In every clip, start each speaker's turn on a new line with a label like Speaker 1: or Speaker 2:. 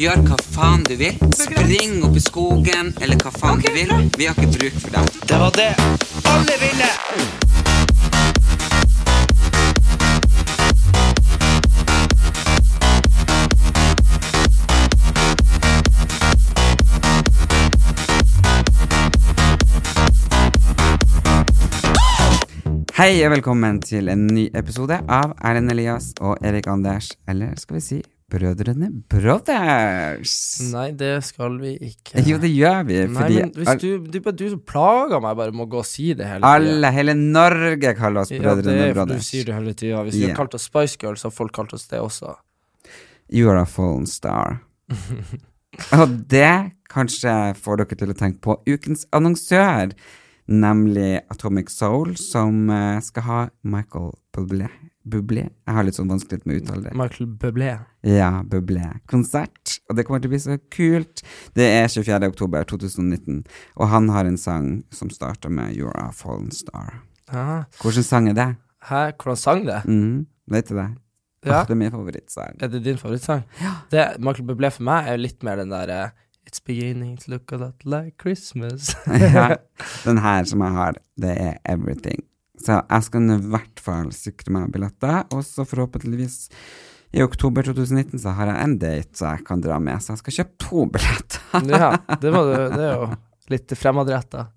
Speaker 1: Gjør hva faen du vil. Spring opp i skogen, eller hva faen du vil. Vi har ikke bruk for deg. Det var det alle ville! Hei og velkommen til en ny episode av Erlend Elias og Erik Anders, eller skal vi si Brødrene Brothers.
Speaker 2: Nei, det skal vi ikke.
Speaker 1: Jo, det gjør vi,
Speaker 2: Nei,
Speaker 1: fordi
Speaker 2: men hvis du, du, du som plager meg bare med å gå og si det hele tiden.
Speaker 1: alle, hele Norge kaller oss
Speaker 2: Ja, det
Speaker 1: Brødrene
Speaker 2: er for du
Speaker 1: Brothers.
Speaker 2: sier det hele tida. Hvis du
Speaker 1: Ja.
Speaker 2: hadde kalt oss Spice Girls, så hadde folk kalt oss det også.
Speaker 1: You are a fallen star. Og det kanskje får dere til å tenke på ukens annonsør, nemlig Atomic Soul, som eh, skal ha Michael Bublé. Bublé? Jeg har litt sånn vanskelig med å uttale det.
Speaker 2: Michael Bublé.
Speaker 1: Ja, Bublé-konsert. Og det kommer til å bli så kult. Det er 24. oktober 2019, og han har en sang som starter med You're a fallen star.
Speaker 2: Hæ?
Speaker 1: Hvilken sang er det?
Speaker 2: Hæ? Hvordan sang det?
Speaker 1: Mm, vet du det?
Speaker 2: Ja.
Speaker 1: Åh, det er min favorittsang.
Speaker 2: Er det din favorittsang? Det Michael Bublé for meg er litt mer den derre It's beginning to look a lot like Christmas.
Speaker 1: ja. Den her som jeg har, det er everything. Så jeg skal nå i hvert fall sikre meg billetter, og så forhåpentligvis i oktober 2019 så har jeg en date så jeg kan dra med, så jeg skal kjøpe to billetter.
Speaker 2: ja, det, må du, det er jo litt fremadretta.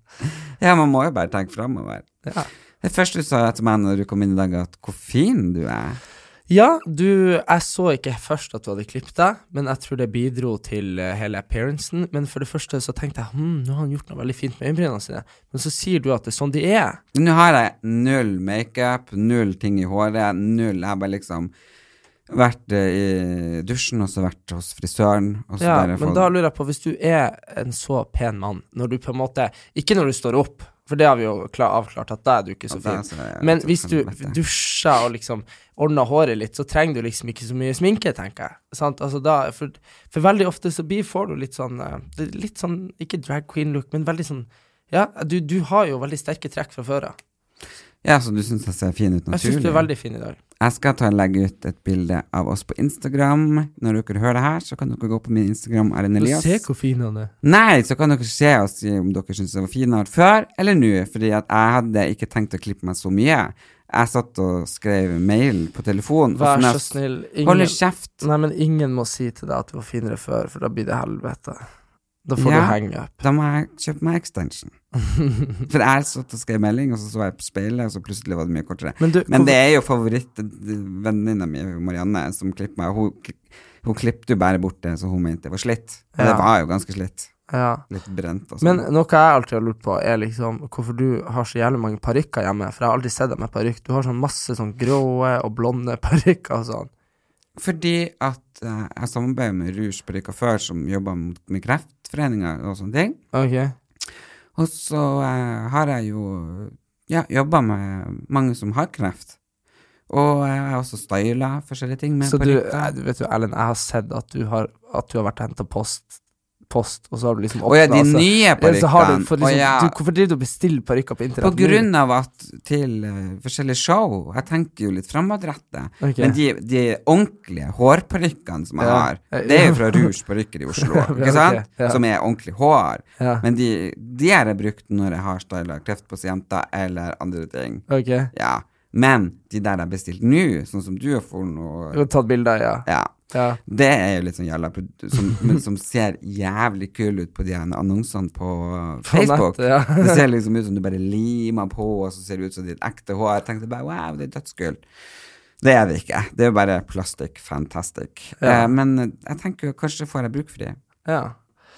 Speaker 1: ja, man må jo bare tenke framover.
Speaker 2: Ja.
Speaker 1: Det første du sa til meg når du kom inn i dag, at hvor fin du er.
Speaker 2: Ja, du, jeg så ikke først at du hadde klippet deg, men jeg tror det bidro til eh, hele appearancen. Men for det første så tenkte jeg hm, nå har han gjort noe veldig fint med øyenbrynene sine. Men så sier du at det er sånn de er.
Speaker 1: Nå har jeg null makeup, null ting i håret, null Jeg har bare liksom vært eh, i dusjen, og så vært hos frisøren, og så
Speaker 2: Ja,
Speaker 1: bare
Speaker 2: men
Speaker 1: fått-
Speaker 2: da lurer jeg på, hvis du er en så pen mann, når du på en måte Ikke når du står opp, for det har vi jo kla- avklart at da er du ikke så
Speaker 1: Ja, da
Speaker 2: fin.
Speaker 1: ser jeg
Speaker 2: Men
Speaker 1: ut som
Speaker 2: hvis du
Speaker 1: helvete.
Speaker 2: dusjer og liksom ordner håret litt, så trenger du liksom ikke så mye sminke, tenker jeg. Sant? Altså da, for, for veldig ofte så blir, får du litt sånn eh, det er Litt sånn, ikke drag queen-look, men veldig sånn Ja, du, du har jo veldig sterke trekk fra før av.
Speaker 1: Ja, så du syns jeg ser fin ut
Speaker 2: Jeg syns du
Speaker 1: naturlig?
Speaker 2: er veldig fin i dag.
Speaker 1: Jeg skal ta og legge ut et bilde av oss på Instagram. Når dere hører det her, så kan dere gå på min Instagram, Erlend Elias.
Speaker 2: hvor fin han er.
Speaker 1: Nei, så kan dere se og si om dere syns det var finere før eller nå, fordi at jeg hadde ikke tenkt å klippe meg så mye. Jeg satt og skrev mail på telefon. og
Speaker 2: Vær
Speaker 1: når
Speaker 2: så
Speaker 1: jeg-
Speaker 2: snill.
Speaker 1: Hold
Speaker 2: Ingen,
Speaker 1: kjeft!
Speaker 2: nei, men ingen må si til deg at du var finere før, for da blir det helvete. Da får
Speaker 1: Ja.
Speaker 2: du henge up.
Speaker 1: Da må jeg kjøpe meg extension. For jeg satt og skrev melding, og så så jeg på speilet, og så plutselig var det mye kortere.
Speaker 2: Men du,
Speaker 1: Men
Speaker 2: hvorfor-
Speaker 1: det er jo favorittvenninna mi, Marianne, som klipper meg. Hun, hun klippet jo bare bort det, så hun mente det var slitt. Og det
Speaker 2: Ja.
Speaker 1: var jo ganske slitt.
Speaker 2: ja.
Speaker 1: Litt brent og
Speaker 2: Men
Speaker 1: sånn.
Speaker 2: noe jeg alltid har lurt på, er liksom hvorfor du har så jævlig mange parykker hjemme. For jeg har aldri sett deg med parykk. Du har sånn masse sånn grå og blonde parykker og sånn.
Speaker 1: Fordi at eh, jeg samarbeider med Rouge Parykka før, som jobber mot- med Kreftforeninga og sånne ting.
Speaker 2: Ok.
Speaker 1: Og så eh, har jeg jo ja, jobba med mange som har kreft. Og jeg har også styla forskjellige ting med
Speaker 2: Så du,
Speaker 1: parykker.
Speaker 2: eh, du vet jo, Ellen, jeg har sett at du har, at du har vært og henta post, post, og så har du liksom
Speaker 1: Å ja, de
Speaker 2: åpnet, altså.
Speaker 1: nye
Speaker 2: Ja, så har du,
Speaker 1: parykkene.
Speaker 2: for
Speaker 1: Å
Speaker 2: liksom,
Speaker 1: ja.
Speaker 2: du, hvorfor driver du og bestiller parykker på internett?
Speaker 1: På grunn av at til eh, forskjellige show Jeg tenker jo litt framadrettet.
Speaker 2: Ok.
Speaker 1: Men de, de ordentlige hårparykkene som jeg
Speaker 2: Ja. Eh,
Speaker 1: har, det er
Speaker 2: ja.
Speaker 1: jo fra Rouge parykker i Oslo,
Speaker 2: ok,
Speaker 1: ikke sant?
Speaker 2: ja.
Speaker 1: som er ordentlig hår.
Speaker 2: Ja.
Speaker 1: Men de, de har jeg brukt når jeg har styla kreftpasienter eller andre ting.
Speaker 2: Ok.
Speaker 1: Ja. Men de der jeg har bestilt nå, sånn som du har fått
Speaker 2: Du
Speaker 1: nå
Speaker 2: har tatt bilder, ja.
Speaker 1: ja.
Speaker 2: ja.
Speaker 1: Det er jo litt sånn jævla produ- som, men som ser jævlig kul ut på de her annonsene på eh, Facebook.
Speaker 2: nettet, ja.
Speaker 1: det ser liksom ut som du bare limer på, og så ser det ut som ditt ekte hår. Jeg tenkte bare wow, det er dødskult. Det er det ikke. Det er jo bare plastic fantastic. Eh, men jeg tenker jo kanskje får jeg bruk for de.
Speaker 2: ja.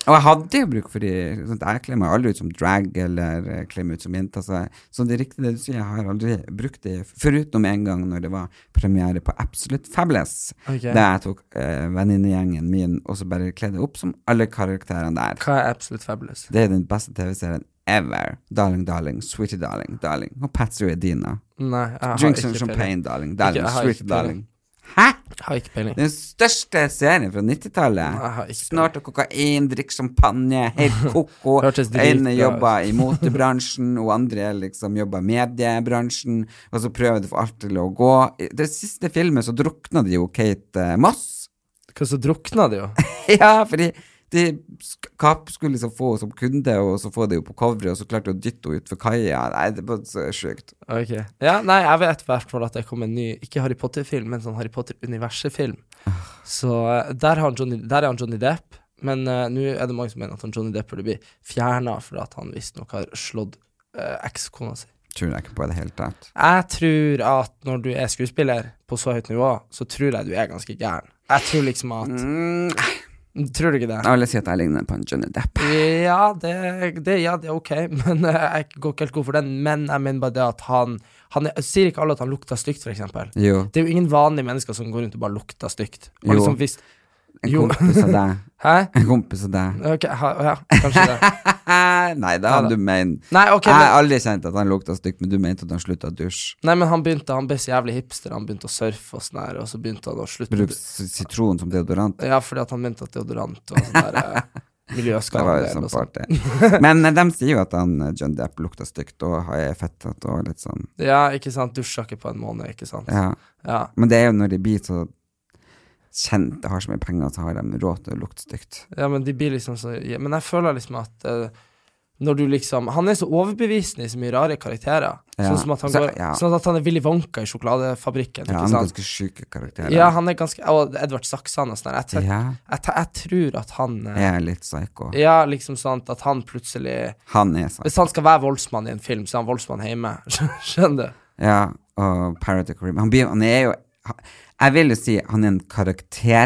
Speaker 1: Og jeg hadde jo bruk for de sånn, Jeg kler meg aldri ut som drag eller eh, kler meg ut som jente. Så, jeg- så det er riktig det du sier, jeg har aldri brukt de foruten en gang når det var premiere på Absolute Fabulous.
Speaker 2: Ok.
Speaker 1: Da jeg tok eh, venninnegjengen min og så bare kledde opp som alle karakterene der.
Speaker 2: Hva er Absolute Fabulous?
Speaker 1: Det er den beste TV-serien ever. Darling, darling, sweetie, darling, darling. Og Patsy Edina.
Speaker 2: Nei, jeg har
Speaker 1: Drink
Speaker 2: ikke
Speaker 1: some
Speaker 2: peiling.
Speaker 1: champagne, darling, darling,
Speaker 2: Ikke- jeg har
Speaker 1: sweetie,
Speaker 2: ikke peiling.
Speaker 1: darling. Hæ?!
Speaker 2: Jeg Har ikke peiling.
Speaker 1: Den største serien fra
Speaker 2: Jeg har
Speaker 1: 90-tallet.
Speaker 2: ikke
Speaker 1: Snart og kokain, drikk champagne, helt koko.
Speaker 2: Hørtes dritbra
Speaker 1: Ene
Speaker 2: ut.
Speaker 1: jobber i motebransjen, og andre liksom jobber i mediebransjen. Og så prøver de å få alt til å gå. I den siste filmen så drukna de jo Kate eh, Moss.
Speaker 2: Hva så drukna det jo?
Speaker 1: ja, fordi de skap skulle liksom få henne som kunde, og så få det jo på coveret, og så klarte de å dytte henne utfor kaia. Nei, det var så sjukt.
Speaker 2: Ok. Ja, nei, jeg vet i hvert fall at det kom en ny, ikke Harry Potter-film, men sånn Harry Potter-universet-film. Så eh, der, har han Johnny, der er han Johnny Depp, men eh, nå er det mange som mener at han Johnny Depp burde bli fjerna for at han visstnok har slått eh, ekskona si.
Speaker 1: Tror jeg ikke på i det hele tatt.
Speaker 2: Jeg tror at når du er skuespiller på så høyt nivå, så tror jeg du er ganske gæren. Jeg tror liksom at
Speaker 1: Mm,
Speaker 2: Tror du ikke det?
Speaker 1: alle sier at jeg ligner på en Johnny Depp.
Speaker 2: Ja, det, det, ja, det er ok, men eh, jeg går ikke helt god for den. Men jeg mener bare det at han, han er, Sier ikke alle at han lukter stygt, for eksempel?
Speaker 1: Jo.
Speaker 2: Det er jo ingen vanlige mennesker som går rundt og bare lukter stygt. Og
Speaker 1: Jo.
Speaker 2: liksom hvis
Speaker 1: En
Speaker 2: Jo.
Speaker 1: kompis av deg.
Speaker 2: Hæ?
Speaker 1: En kompis av deg.
Speaker 2: Ok, ha, ja, kanskje det.
Speaker 1: Nei, det hadde
Speaker 2: Neida.
Speaker 1: du ment.
Speaker 2: Nei, ok,
Speaker 1: jeg har
Speaker 2: men,
Speaker 1: aldri kjent at han lukta stygt, men du mente at han slutta å dusje.
Speaker 2: nei, men han begynte Han ble så jævlig hipster. Han begynte å surfe og sånn her, og så begynte han å slutte
Speaker 1: Bruk s- sitron som deodorant.
Speaker 2: Ja, fordi at han mente at deodorant var sånn der
Speaker 1: Det
Speaker 2: eh,
Speaker 1: var
Speaker 2: miljøskadelig.
Speaker 1: jo
Speaker 2: eller noe
Speaker 1: sånn
Speaker 2: sånt.
Speaker 1: party. Men eh, de sier jo at han eh, John Depp lukta stygt og er fettete og litt sånn.
Speaker 2: Ja, ikke sant. Dusja ikke på en måned, ikke sant.
Speaker 1: Ja.
Speaker 2: Ja.
Speaker 1: Men det er jo når de blir så kjent og har så mye penger, så har de råd til å lukte stygt.
Speaker 2: Ja, men de blir liksom så ja, Men jeg føler liksom at eh, når du liksom Han er så overbevisende i så mye rare karakterer.
Speaker 1: Ja.
Speaker 2: Sånn som at han
Speaker 1: Så-
Speaker 2: går
Speaker 1: ja.
Speaker 2: Sånn at han er Willy Wonka i
Speaker 1: Ja,
Speaker 2: sjokoladefabrikken. ikke
Speaker 1: han har
Speaker 2: sant?
Speaker 1: ganske sjuke karakterer.
Speaker 2: Ja, han er ganske Og Edvard Saksan og sånn. der. Jeg, tror-
Speaker 1: Ja,
Speaker 2: jeg, t- jeg tror at han eh,
Speaker 1: jeg er litt psycho.
Speaker 2: Ja, liksom sånn at han plutselig
Speaker 1: Han er sånn.
Speaker 2: Hvis han skal være voldsmann i en film, så er han voldsmann hjemme. Skjønner du?
Speaker 1: Ja, og Pirate of the Caribbean. Han, blir, han er jo han- Jeg vil jo si han er en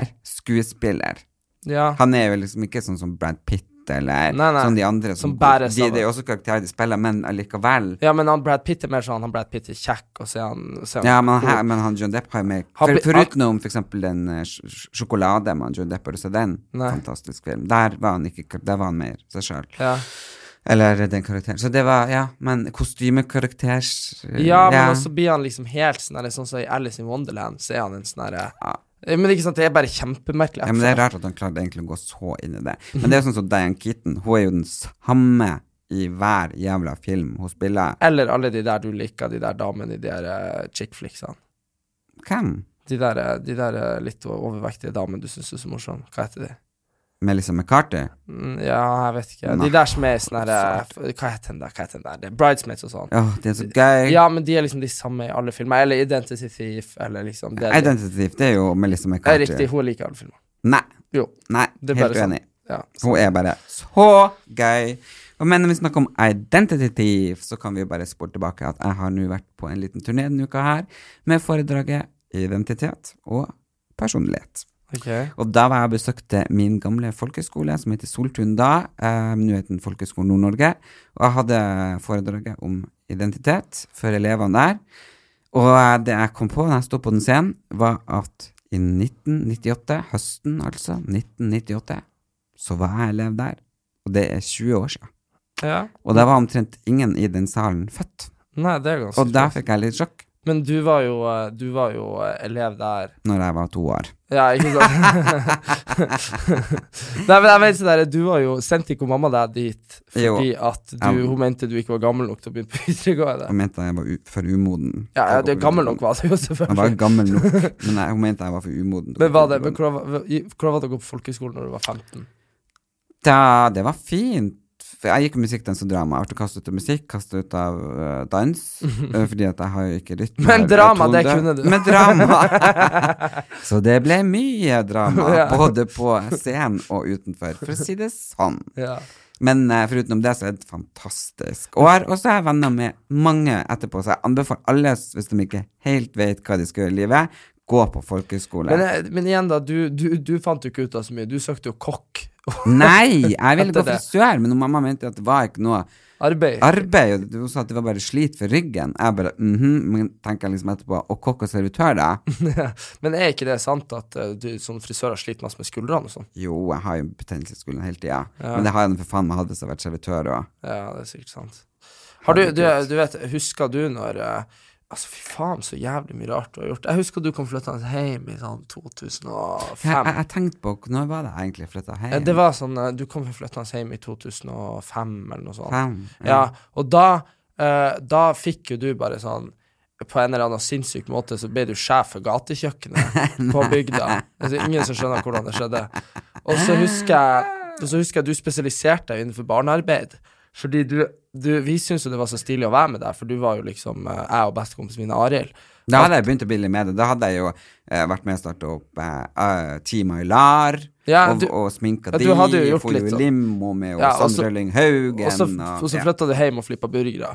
Speaker 1: karakterskuespiller.
Speaker 2: Ja.
Speaker 1: Han er jo liksom ikke sånn som Brad Pitt eller
Speaker 2: Nei, nei.
Speaker 1: sånn de andre
Speaker 2: Som bæres
Speaker 1: de,
Speaker 2: av det.
Speaker 1: Det er jo også karakterer de spiller, men allikevel.
Speaker 2: ja, men han Brad Pitt er mer sånn Han Brad Pitt er kjekk, og så er han, så er han
Speaker 1: Ja, men, her,
Speaker 2: cool.
Speaker 1: men han John Depp har jo mer
Speaker 2: Han
Speaker 1: for,
Speaker 2: blir-
Speaker 1: Foruten om for eksempel den eh, sj- sj- sjokolade med han John Depp, har du sett den?
Speaker 2: Nei.
Speaker 1: Fantastisk film. Der var han ikke Der var han mer seg sjøl.
Speaker 2: ja.
Speaker 1: Eller den karakteren. Så det var Ja, men kostymekarakters
Speaker 2: Ja, men også blir han liksom helt sånn der, Sånn som i Alice in Wonderland, så er han en sånn derre
Speaker 1: Ja.
Speaker 2: Men ikke sant, det er bare kjempemerkelig.
Speaker 1: Ja, men Det er rart at han klarte egentlig å gå så inn i det. Men det er jo sånn som Diane Keaton. Hun er jo den samme i hver jævla film hun spiller.
Speaker 2: Eller alle de der du liker, de der damene i de der eh, chick flicksene.
Speaker 1: Hvem?
Speaker 2: De der, eh, de der eh, litt overvektige damene du syns er så morsomme. Hva heter de?
Speaker 1: Melissa McCarthy?
Speaker 2: Mm, ja, jeg vet ikke.
Speaker 1: Nei.
Speaker 2: De der som er sånn herre Hva heter den der? Hva heter den der? Det er Bridesmaids og sånn.
Speaker 1: Åh, det er så gøy.
Speaker 2: Ja, men de er liksom de samme i alle filmer. Eller Identity Thief, eller liksom det. er-
Speaker 1: Identity Thief, det er jo Melissa
Speaker 2: Det er
Speaker 1: McCarthy.
Speaker 2: riktig, hun er like i alle filmer.
Speaker 1: Nei,
Speaker 2: Jo.
Speaker 1: nei
Speaker 2: Det er
Speaker 1: helt
Speaker 2: bare sånn.
Speaker 1: uenig.
Speaker 2: Ja.
Speaker 1: Hun er bare så gøy. Og men når vi snakker om Identity Thief, så kan vi jo bare spole tilbake at jeg har nå vært på en liten turné denne uka her med foredraget Identitet og personlighet.
Speaker 2: Ok.
Speaker 1: Og da var jeg og besøkte min gamle folkeskole, som heter Soltun da. Eh, nå heter den Folkeskolen Nord-Norge. Og jeg hadde foredraget om identitet for elevene der. Og eh, det jeg kom på når jeg sto på den scenen, var at i 1998, høsten altså, 1998, så var jeg elev der. Og det er 20 år siden.
Speaker 2: Ja.
Speaker 1: Og da var omtrent ingen i den salen født.
Speaker 2: Nei, det er ganske
Speaker 1: Og da
Speaker 2: fint.
Speaker 1: fikk jeg litt sjokk
Speaker 2: Men du var jo, eh, du var jo eh, elev der
Speaker 1: når jeg var to år.
Speaker 2: Ja, ikke sant? Nei, men jeg vet sånn der, Du var jo Sendte ikke mamma deg dit fordi at du,
Speaker 1: Ja.
Speaker 2: hun mente du ikke var gammel nok til å begynne på videregående?
Speaker 1: Jeg mente jeg var u for umoden.
Speaker 2: Ja, ja det, gammel nok var du
Speaker 1: Jeg
Speaker 2: jo,
Speaker 1: var
Speaker 2: selvfølgelig.
Speaker 1: gammel nok, men jeg, hun mente jeg var for umoden.
Speaker 2: Men var det, men hvordan var- i- hvordan var det å gå på folkehøyskole når du var 15?
Speaker 1: Da, det var fint. For Jeg gikk musikkdans og drama. Jeg ble kastet ut av musikk, kastet ut av eh, dans. eh, fordi at jeg har jo ikke rytme.
Speaker 2: Men
Speaker 1: eller
Speaker 2: drama,
Speaker 1: tone.
Speaker 2: det kunne du.
Speaker 1: Men drama! så det ble mye drama,
Speaker 2: Ja.
Speaker 1: både på scenen og utenfor, for å si det sånn.
Speaker 2: Ja.
Speaker 1: Men eh, foruten om det, så er det et fantastisk år. Og så er jeg venner med mange etterpå, så jeg anbefaler alle, hvis de ikke helt vet hva de skal gjøre i livet, gå på folkehøyskole.
Speaker 2: Men, eh, men igjen, da. Du, du, du fant jo ikke ut av så mye. Du søkte jo kokk
Speaker 1: Nei, jeg ville gå
Speaker 2: Hette det.
Speaker 1: frisør, men mamma mente at det var ikke noe
Speaker 2: Arbeid.
Speaker 1: arbeid. og Hun sa at det var bare slit for ryggen. Jeg bare mhm, men tenker jeg liksom etterpå Og kokk og servitør, da?
Speaker 2: Men er ikke det sant at eh, du som frisør har slitt masse med skuldrene og sånn?
Speaker 1: Jo, jeg har jo betennelse i skolen hele tida. Men det har jeg nå for faen meg hatt hvis jeg har vært servitør òg.
Speaker 2: Ja, det er sikkert sant. Har du, du, du vet, husker du når eh, Altså, fy faen, så jævlig mye rart du har gjort. Jeg husker du kom flyttende hjem i sånn 2005.
Speaker 1: Jeg, jeg, jeg tenkte på Når var det jeg egentlig flytta
Speaker 2: Eh,
Speaker 1: hjem?
Speaker 2: Det var sånn eh, Du kom flyttende hjem i 2005, eller noe sånt.
Speaker 1: Fem?
Speaker 2: Ja, og da, eh, da fikk jo du bare sånn på en eller annen sinnssyk måte så ble du sjef for gatekjøkkenet på bygda. Altså, ingen som skjønner hvordan det skjedde. Og så husker jeg, og så husker jeg du spesialiserte deg innenfor barnearbeid. Fordi du, du Vi syntes jo det var så stilig å være med deg, for du var jo liksom eh, jeg og bestekompisen min Arild.
Speaker 1: Da hadde jeg begynt å bli litt med det. Da hadde jeg jo eh, vært med og starta opp eh, eh, Team Aylar.
Speaker 2: Ja,
Speaker 1: og,
Speaker 2: du-
Speaker 1: og sminka
Speaker 2: Ja,
Speaker 1: de,
Speaker 2: du hadde jo gjort
Speaker 1: for
Speaker 2: litt
Speaker 1: jo
Speaker 2: sånn.
Speaker 1: limo med
Speaker 2: Ja, og så-
Speaker 1: Sondre Lyng Haugen.
Speaker 2: Og så,
Speaker 1: og-
Speaker 2: og så
Speaker 1: ja.
Speaker 2: flytta du hjem og flippa burgere.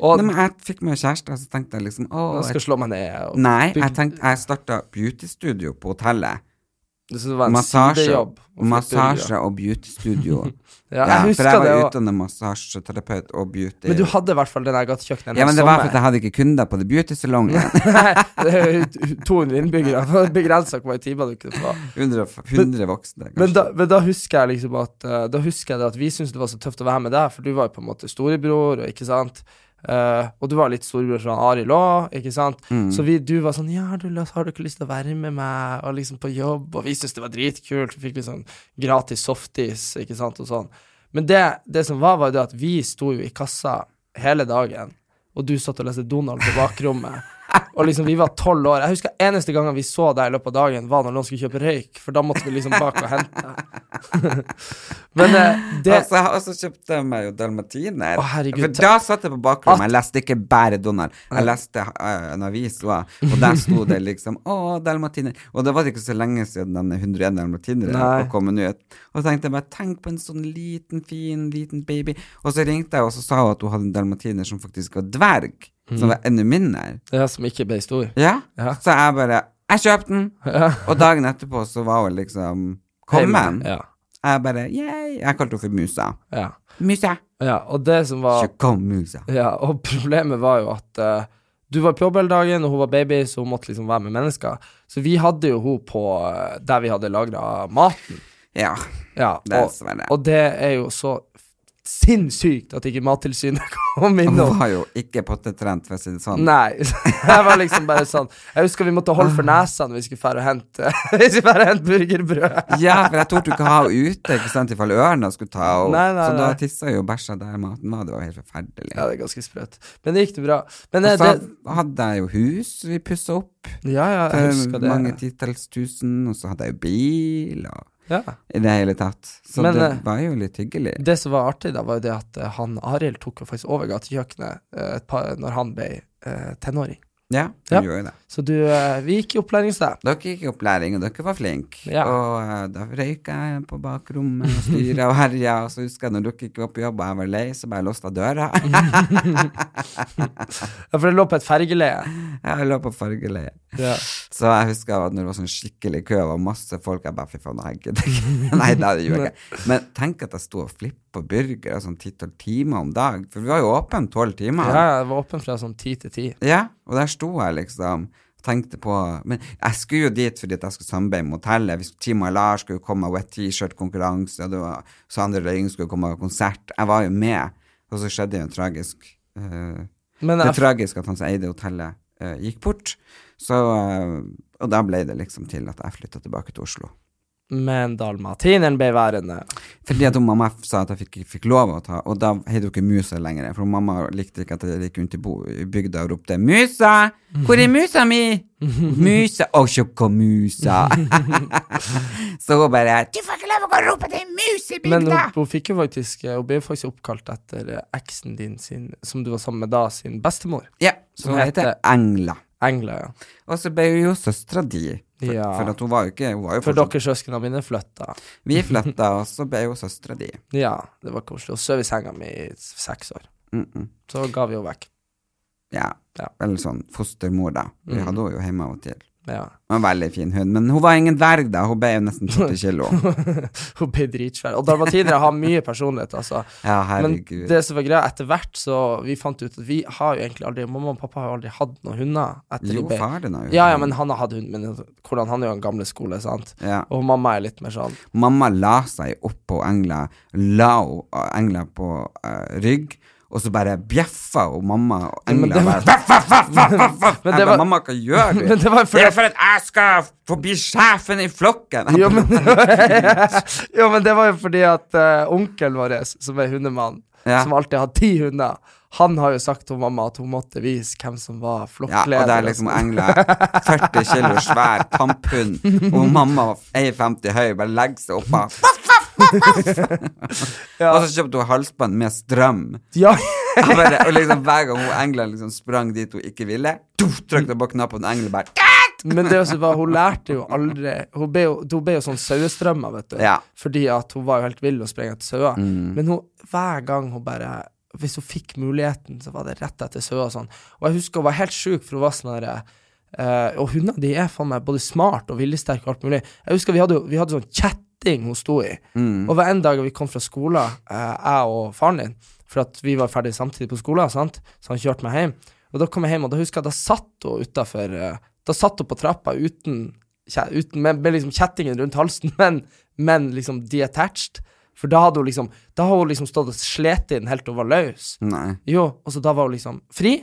Speaker 2: Og
Speaker 1: Nei, men jeg fikk meg kjæreste, og så tenkte jeg liksom Å,
Speaker 2: jeg skal
Speaker 1: jeg,
Speaker 2: slå meg ned. Og,
Speaker 1: Nei, jeg
Speaker 2: bygd-
Speaker 1: tenkte Jeg starta beautystudio på hotellet.
Speaker 2: så det var en
Speaker 1: Massasje,
Speaker 2: sidejobb. å flippe burgere.
Speaker 1: massasje og beautystudio.
Speaker 2: Ja,
Speaker 1: ja,
Speaker 2: jeg
Speaker 1: for jeg
Speaker 2: husker det.
Speaker 1: var
Speaker 2: Og,
Speaker 1: utdannet massasjeterapeut og beauty.
Speaker 2: men du hadde i hvert fall den der gatekjøkkenet
Speaker 1: ja, men det var
Speaker 2: sommer.
Speaker 1: fordi jeg hadde ikke kunder på The Beauty Salon.
Speaker 2: Nei, det er jo 200 innbyggere. Begrensa hvor mange timer du kunne få.
Speaker 1: 100, 100 voksne,
Speaker 2: Men
Speaker 1: kanskje.
Speaker 2: da, men da husker jeg liksom at eh, Da husker jeg det at vi syntes det var så tøft å være med deg, for du var jo på en måte storebror, og ikke sant? Eh, og du var litt storebror fra Arild òg, ikke sant? Så vi, du var sånn Ja, har du, lyst- har du ikke lyst til å være med meg, og liksom på jobb? Og vi syntes det var dritkult, vi fikk liksom gratis softis, ikke sant, og sånn. Men det, det som var, var jo det at vi sto jo i kassa hele dagen, og du satt og leste Donald på bakrommet. Og liksom, vi var tolv år. Jeg husker eneste gangen vi så deg i løpet av dagen, var når noen skulle kjøpe røyk, for da måtte vi liksom bak og hente. Men eh, det
Speaker 1: Og så- og så kjøpte Altså, jeg eh, meg jo dalmatiner.
Speaker 2: Å, herregud,
Speaker 1: for da satt jeg på bakrommet. Jeg leste ikke bare Donald. Jeg leste eh, en avis, også, og der sto det liksom Å, dalmatiner. Og da var det ikke så lenge siden den 101 dalmatinere
Speaker 2: Nei.
Speaker 1: var kommet ut. Og så tenkte jeg bare Tenk på en sånn liten, fin, liten baby. Og så ringte jeg, og så sa hun at hun hadde en dalmatiner som faktisk var dverg. Som var enda mindre.
Speaker 2: Det som ikke ble stor.
Speaker 1: Ja.
Speaker 2: Mm. Ja.
Speaker 1: Så jeg bare Jeg kjøpte den! Og dagen etterpå så var hun liksom kommet.
Speaker 2: Ja.
Speaker 1: Jeg bare Yay! Jeg kalte henne for Musa.
Speaker 2: Ja.
Speaker 1: Musa!
Speaker 2: ja. Og det som var
Speaker 1: Tjukkommusa.
Speaker 2: Ja, og problemet var jo at eh, du var på jobb hele dagen, og hun var baby, så hun måtte liksom være med mennesker. Så vi hadde jo hun på eh, der vi hadde lagra maten.
Speaker 1: Ja,
Speaker 2: Ja, og,
Speaker 1: dessverre.
Speaker 2: og det er jo så sinnssykt at ikke Mattilsynet kom
Speaker 1: Hun
Speaker 2: innom.
Speaker 1: var jo ikke pottetrent, for å si det sånn.
Speaker 2: Nei. så Jeg var liksom bare sånn Jeg husker vi måtte holde for nesa når vi skulle fære og hente Vi skulle fære og hente burgerbrød.
Speaker 1: Ja, for jeg torde ikke ha henne ute, ikke sant, ifall ørna skulle ta henne.
Speaker 2: Nei, nei,
Speaker 1: Så da
Speaker 2: nei.
Speaker 1: tissa hun og bæsja der maten var. Det var helt forferdelig.
Speaker 2: Ja, det er ganske sprøtt. Men det gikk det bra. Men
Speaker 1: og
Speaker 2: eh,
Speaker 1: så
Speaker 2: det,
Speaker 1: hadde jeg jo hus vi pussa opp
Speaker 2: Ja, ja, jeg
Speaker 1: til
Speaker 2: husker
Speaker 1: mange
Speaker 2: det.
Speaker 1: titalls tusen, og så hadde jeg jo bil og
Speaker 2: Ja.
Speaker 1: I det hele tatt. Så
Speaker 2: Men,
Speaker 1: det
Speaker 2: eh,
Speaker 1: var jo litt hyggelig.
Speaker 2: Det som var artig, da, var jo det at eh, han Arild tok jo faktisk over gatekjøkkenet eh, et par- når han ble eh, tenåring.
Speaker 1: Ja, hun
Speaker 2: ja.
Speaker 1: gjorde det.
Speaker 2: Så du eh, Vi gikk i opplæring hos deg.
Speaker 1: Dere gikk i opplæring, og dere var flinke.
Speaker 2: Ja.
Speaker 1: Og eh, da røyka jeg på bakrommet og styra og herja, og så husker jeg når dere ikke var på jobb og jeg var lei, så bare låste jeg døra.
Speaker 2: Ja, for det lå på et fergeleie.
Speaker 1: Jeg lå på fargeleie.
Speaker 2: Ja.
Speaker 1: Så jeg husker at når det var sånn skikkelig kø og masse folk, jeg bare fy faen, jeg gidder ikke. Nei, det gjorde jeg ikke. Men tenk at jeg sto og flippa burger sånn ti-tolv timer om dag, for vi var jo åpne tolv timer.
Speaker 2: Ja, jeg var åpen fra sånn ti til ti.
Speaker 1: Ja, og der sto jeg liksom tenkte på, Men jeg skulle jo dit fordi at jeg skulle samarbeide med hotellet. Vi skulle, Team Alar skulle jo komme med wet T-shirt-konkurranse, og det var Sander Løying skulle komme med konsert. Jeg var jo med, og så skjedde jo en tragisk eh,
Speaker 2: Men
Speaker 1: Det er
Speaker 2: jeg,
Speaker 1: tragisk at han som eide hotellet, eh, gikk bort. Så eh, Og da ble det liksom til at jeg flytta tilbake til Oslo.
Speaker 2: men dalmatineren ble værende.
Speaker 1: Fordi at hun mamma f- sa at jeg fikk, fikk lov å ta, og da het hun ikke Musa lenger. For hun mamma likte ikke at jeg gikk rundt i, bo, i bygda og ropte 'Musa! Hvor er musa mi?' 'Musa! Å, sjokka musa!' så hun bare 'Du får ikke lov å gå og rope til mus i
Speaker 2: Men hun,
Speaker 1: bygda!'
Speaker 2: hun fikk jo faktisk eh, Hun ble jo faktisk oppkalt etter eh, eksen din sin, som du var sammen med da, sin bestemor.
Speaker 1: ja,
Speaker 2: Så
Speaker 1: så hun heter
Speaker 2: heter-
Speaker 1: Engla.
Speaker 2: Engla, ja.
Speaker 1: Og så ble hun jo søstera di. For,
Speaker 2: Ja.
Speaker 1: for at hun var jo ikke hun var jo
Speaker 2: For
Speaker 1: fortsatt-
Speaker 2: dere søsknene mine flytta.
Speaker 1: Vi flytta, og så ble hun søstera di.
Speaker 2: Ja, det var koselig. Hun sov i senga mi i seks år.
Speaker 1: Mm -mm.
Speaker 2: Så ga vi henne vekk.
Speaker 1: Ja.
Speaker 2: Ja. Mm.
Speaker 1: Eller sånn fostermor, da. Vi hadde henne jo hjemme av og til.
Speaker 2: Ja.
Speaker 1: En veldig fin hund. Men hun var ingen dverg, da. Hun ble jo nesten 70 kilo.
Speaker 2: Hun ble dritsvær. Og dalmatinere har mye personlighet, altså.
Speaker 1: Ja,
Speaker 2: Men
Speaker 1: herregud.
Speaker 2: det som var greia, etter hvert så vi fant ut at vi har jo egentlig aldri Mamma og pappa har jo aldri hatt noen hunder. Etter
Speaker 1: Jo,
Speaker 2: de ble-
Speaker 1: far din har jo
Speaker 2: Ja, ja,
Speaker 1: hund.
Speaker 2: men han har hatt hund, men hvordan han er jo en gamle skole, sant.
Speaker 1: Ja.
Speaker 2: Og mamma er litt mer sånn
Speaker 1: Mamma la seg opp på engla, la hun, eh, engla på eh, rygg, og så bare bjeffa hun mamma og engla
Speaker 2: det
Speaker 1: bare vaff, vaff, vaff, vaff, vaff, vaff.
Speaker 2: Men
Speaker 1: Jeg
Speaker 2: det
Speaker 1: bare,
Speaker 2: var-
Speaker 1: Mamma, hva gjør du?
Speaker 2: Men det var fordi-
Speaker 1: er for at jeg skal forbi sjefen i flokken!
Speaker 2: Jo, men, jo, men det var jo fordi at eh, onkelen vår, som er hundemann,
Speaker 1: Ja.
Speaker 2: som alltid har ti hunder, han har jo sagt til mamma at hun måtte vise hvem som var
Speaker 1: Ja,
Speaker 2: flokkleder.
Speaker 1: og det er liksom engla 40 kilo svær tamphund, og mamma 1,50 høy bare legger seg oppå.
Speaker 2: Ja.
Speaker 1: Og så kjøpte hun halsbånd med strøm.
Speaker 2: Ja,
Speaker 1: Jeg bare, og liksom Hver gang hun engla liksom sprang dit hun ikke ville, tuff, trykte hun på knappen, og engelen bare
Speaker 2: men det også var, hun lærte jo aldri Hun ble jo, hun ble jo sånn sauestrømmer, vet du.
Speaker 1: Ja.
Speaker 2: Fordi at hun var jo helt vill og sprang etter sauer. Men hun, hver gang hun bare Hvis hun fikk muligheten, så var det rett etter sauer og sånn. Og jeg husker hun var helt sjuk, for hun var sånn herre Og hunder, de er faen meg både smart og viljesterke og alt mulig. Jeg husker vi hadde, jo- vi hadde sånn kjetting hun sto i. Og hver en dag vi kom fra skolen, eh, jeg og faren din, for at vi var ferdig samtidig på skolen, sant? så han kjørte meg hjem. Og da kom jeg hjem, og da husker jeg da satt hun utafor Da satt hun på trappa uten, kje- uten med, med liksom kjettingen rundt halsen, men, men liksom detached. For da hadde hun liksom Da har hun liksom stått og slet inn helt til hun var løs.
Speaker 1: Nei.
Speaker 2: Jo, og så da var hun liksom fri,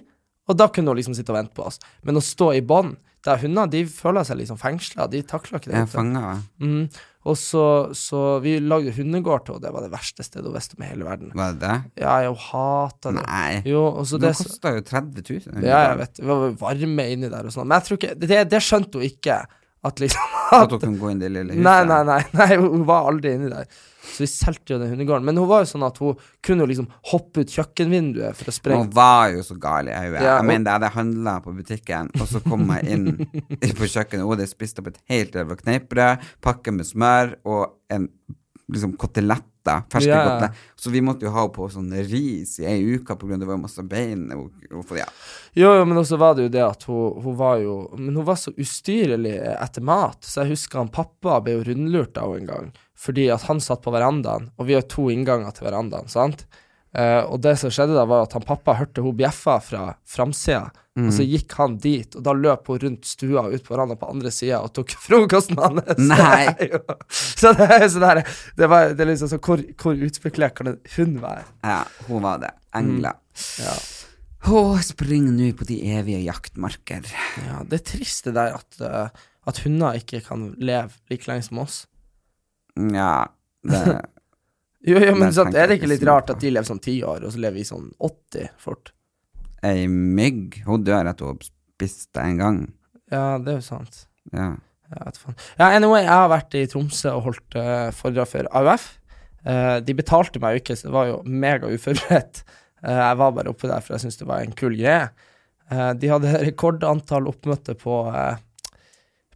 Speaker 2: og da kunne hun liksom sitte og vente på oss. Men å stå i bånd der hunder de føler seg liksom fengsla, de takler ikke det.
Speaker 1: Jeg
Speaker 2: vet du.
Speaker 1: fanga henne.
Speaker 2: Mm. Og så, så vi lagde hundegård til henne, det var det verste stedet hun visste om i hele verden.
Speaker 1: Var det det?
Speaker 2: Ja, jeg hata det.
Speaker 1: Nei.
Speaker 2: Jo, og så
Speaker 1: Det
Speaker 2: det så-
Speaker 1: kosta jo 30 000.
Speaker 2: Ja, jeg vet. Det var varme inni der og sånn. Men jeg tror ikke Det, det skjønte hun ikke, at liksom
Speaker 1: At hun kunne gå inn i det lille huset.
Speaker 2: Nei, nei, nei, nei, hun hun var aldri inni der. Så vi solgte jo den hundegården. Men hun var jo sånn at hun kunne jo liksom hoppe ut kjøkkenvinduet for å
Speaker 1: Men
Speaker 2: sprenge.
Speaker 1: Hun var jo så gal i øyet.
Speaker 2: Ja,
Speaker 1: jeg
Speaker 2: og-
Speaker 1: mener, jeg hadde handla på butikken, og så kom jeg inn i- på kjøkkenet, og hadde spist opp et helt jævla kneippbrød, pakke med smør og en liksom koteletter, ferske
Speaker 2: Ja.
Speaker 1: koteletter. Så vi måtte jo ha henne på sånn ris i ei uke på grunn av det var jo masse bein. Og, og, for- ja.
Speaker 2: Jo, jo, men også var det jo det at hun, hun var jo Men hun var så ustyrlig etter mat, så jeg husker han pappa ble jo rundlurt av henne en gang. Fordi at han satt på verandaen, og vi har to innganger til verandaen, sant. Eh, og det som skjedde da, var at han pappa hørte hun bjeffa fra framsida, og så gikk han dit, og da løp hun rundt stua og ut på verandaen på andre sida og tok frokosten hans.
Speaker 1: Nei.
Speaker 2: Jo. så det er jo sånn her Det, var- det er liksom sånn Hvor, hvor utspekulert kan en hund være?
Speaker 1: ja, hun var det. Engla.
Speaker 2: Mm, Ja.
Speaker 1: Å, spring nå på de evige jaktmarker.
Speaker 2: Ja, det er trist det der at, eh, at hunder ikke kan leve like lenge som oss.
Speaker 1: Ja, det
Speaker 2: Jo, jo,
Speaker 1: Nei,
Speaker 2: men sant,
Speaker 1: tenker
Speaker 2: er det
Speaker 1: jeg
Speaker 2: ikke
Speaker 1: ikke
Speaker 2: litt
Speaker 1: så mye
Speaker 2: rart
Speaker 1: på.
Speaker 2: at de lever sånn ti år, og så lever vi sånn 80 fort?
Speaker 1: Ei mygg, hun dør etter hun spiste en gang.
Speaker 2: Ja, det er jo sant.
Speaker 1: Ja.
Speaker 2: Jeg vet faen. Ja, anyway, jeg har vært i Tromsø og holdt eh, foredrag for AUF. Eh, de betalte meg jo ikke, så det var jo mega uforberedt. Eh, jeg var bare oppe der, for jeg syntes det var en kul greie. Eh, de hadde rekordantall oppmøte på, eh,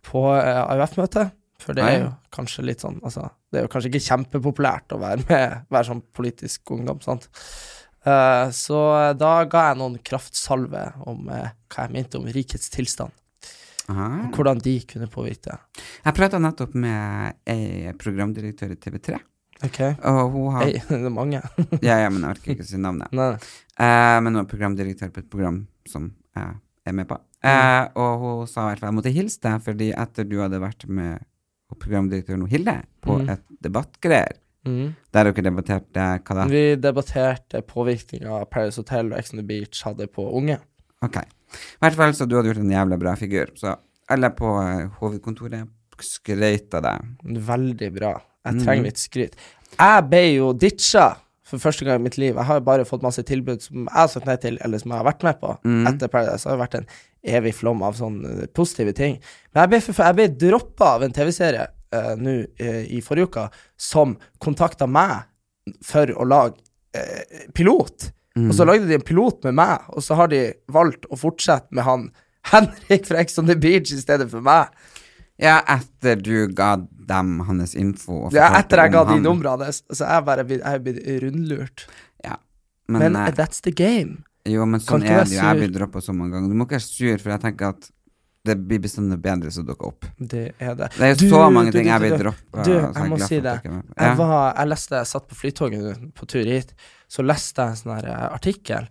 Speaker 2: på eh, AUF-møte, for det
Speaker 1: Nei.
Speaker 2: er jo kanskje litt sånn altså, Det er jo kanskje ikke kjempepopulært å være med, være sånn politisk ungdom, sant. Eh, så da ga jeg noen kraftsalve om eh, hva jeg mente om rikets tilstand,
Speaker 1: Aha.
Speaker 2: og hvordan de kunne påvirke det.
Speaker 1: Jeg prata nettopp med ei programdirektør i TV3,
Speaker 2: Ok.
Speaker 1: og hun har
Speaker 2: Ei, det er mange.
Speaker 1: Ja, ja, men jeg orker ikke å si navnet.
Speaker 2: Nei.
Speaker 1: Eh, men hun er programdirektør på et program som jeg er med på. Eh,
Speaker 2: Mm.
Speaker 1: og hun sa i hvert fall jeg måtte hilse deg, fordi etter du hadde vært med og programdirektøren og Hilde på
Speaker 2: Mm.
Speaker 1: et debattgreier,
Speaker 2: Mm.
Speaker 1: der dere debatterte hva da?
Speaker 2: Vi debatterte påvirkninga Paris Hotel og Ex on the Beach hadde på unge.
Speaker 1: Ok. I hvert fall så du hadde gjort en jævla bra figur. Så alle på eh, hovedkontoret skrøt av deg.
Speaker 2: Veldig bra. Jeg trenger litt skryt. Jeg ble jo ditcha for første gang i mitt liv. Jeg har jo bare fått masse tilbud som jeg har sagt nei til, eller som jeg har vært med på. Etter Paradise har det vært en evig flom av sånne eh, positive ting. Men jeg ble, for- jeg ble droppa av en TV-serie eh, nå eh, i forrige uke som kontakta meg for å lage eh, pilot. Og så lagde de en pilot med meg, og så har de valgt å fortsette med han Henrik fra Ex on the Beach i stedet for meg.
Speaker 1: Ja, etter du ga dem hans info. og
Speaker 2: Ja,
Speaker 1: fortalte
Speaker 2: etter jeg
Speaker 1: om
Speaker 2: ga de
Speaker 1: han.
Speaker 2: numrene, så jeg bare blitt- jeg er blitt rundlurt.
Speaker 1: Ja.
Speaker 2: Men
Speaker 1: eh,
Speaker 2: that's the game.
Speaker 1: Jo, men
Speaker 2: Kan
Speaker 1: sånn
Speaker 2: ikke
Speaker 1: er
Speaker 2: være
Speaker 1: det jo. Jeg
Speaker 2: sur.
Speaker 1: blir droppa så mange ganger. Du må ikke være sur, for jeg tenker at det blir bestandig bedre som dukker opp.
Speaker 2: Det er det.
Speaker 1: Det er jo
Speaker 2: Du,
Speaker 1: så mange
Speaker 2: du,
Speaker 1: ting
Speaker 2: du,
Speaker 1: jeg
Speaker 2: du,
Speaker 1: vil
Speaker 2: du.
Speaker 1: droppe.
Speaker 2: Du,
Speaker 1: så
Speaker 2: jeg må
Speaker 1: glad
Speaker 2: si
Speaker 1: for
Speaker 2: det.
Speaker 1: at jeg ikke er med.
Speaker 2: Jeg,
Speaker 1: Ja.
Speaker 2: var, jeg leste, jeg satt på flytoget på tur hit, så leste jeg en sånn her eh, artikkel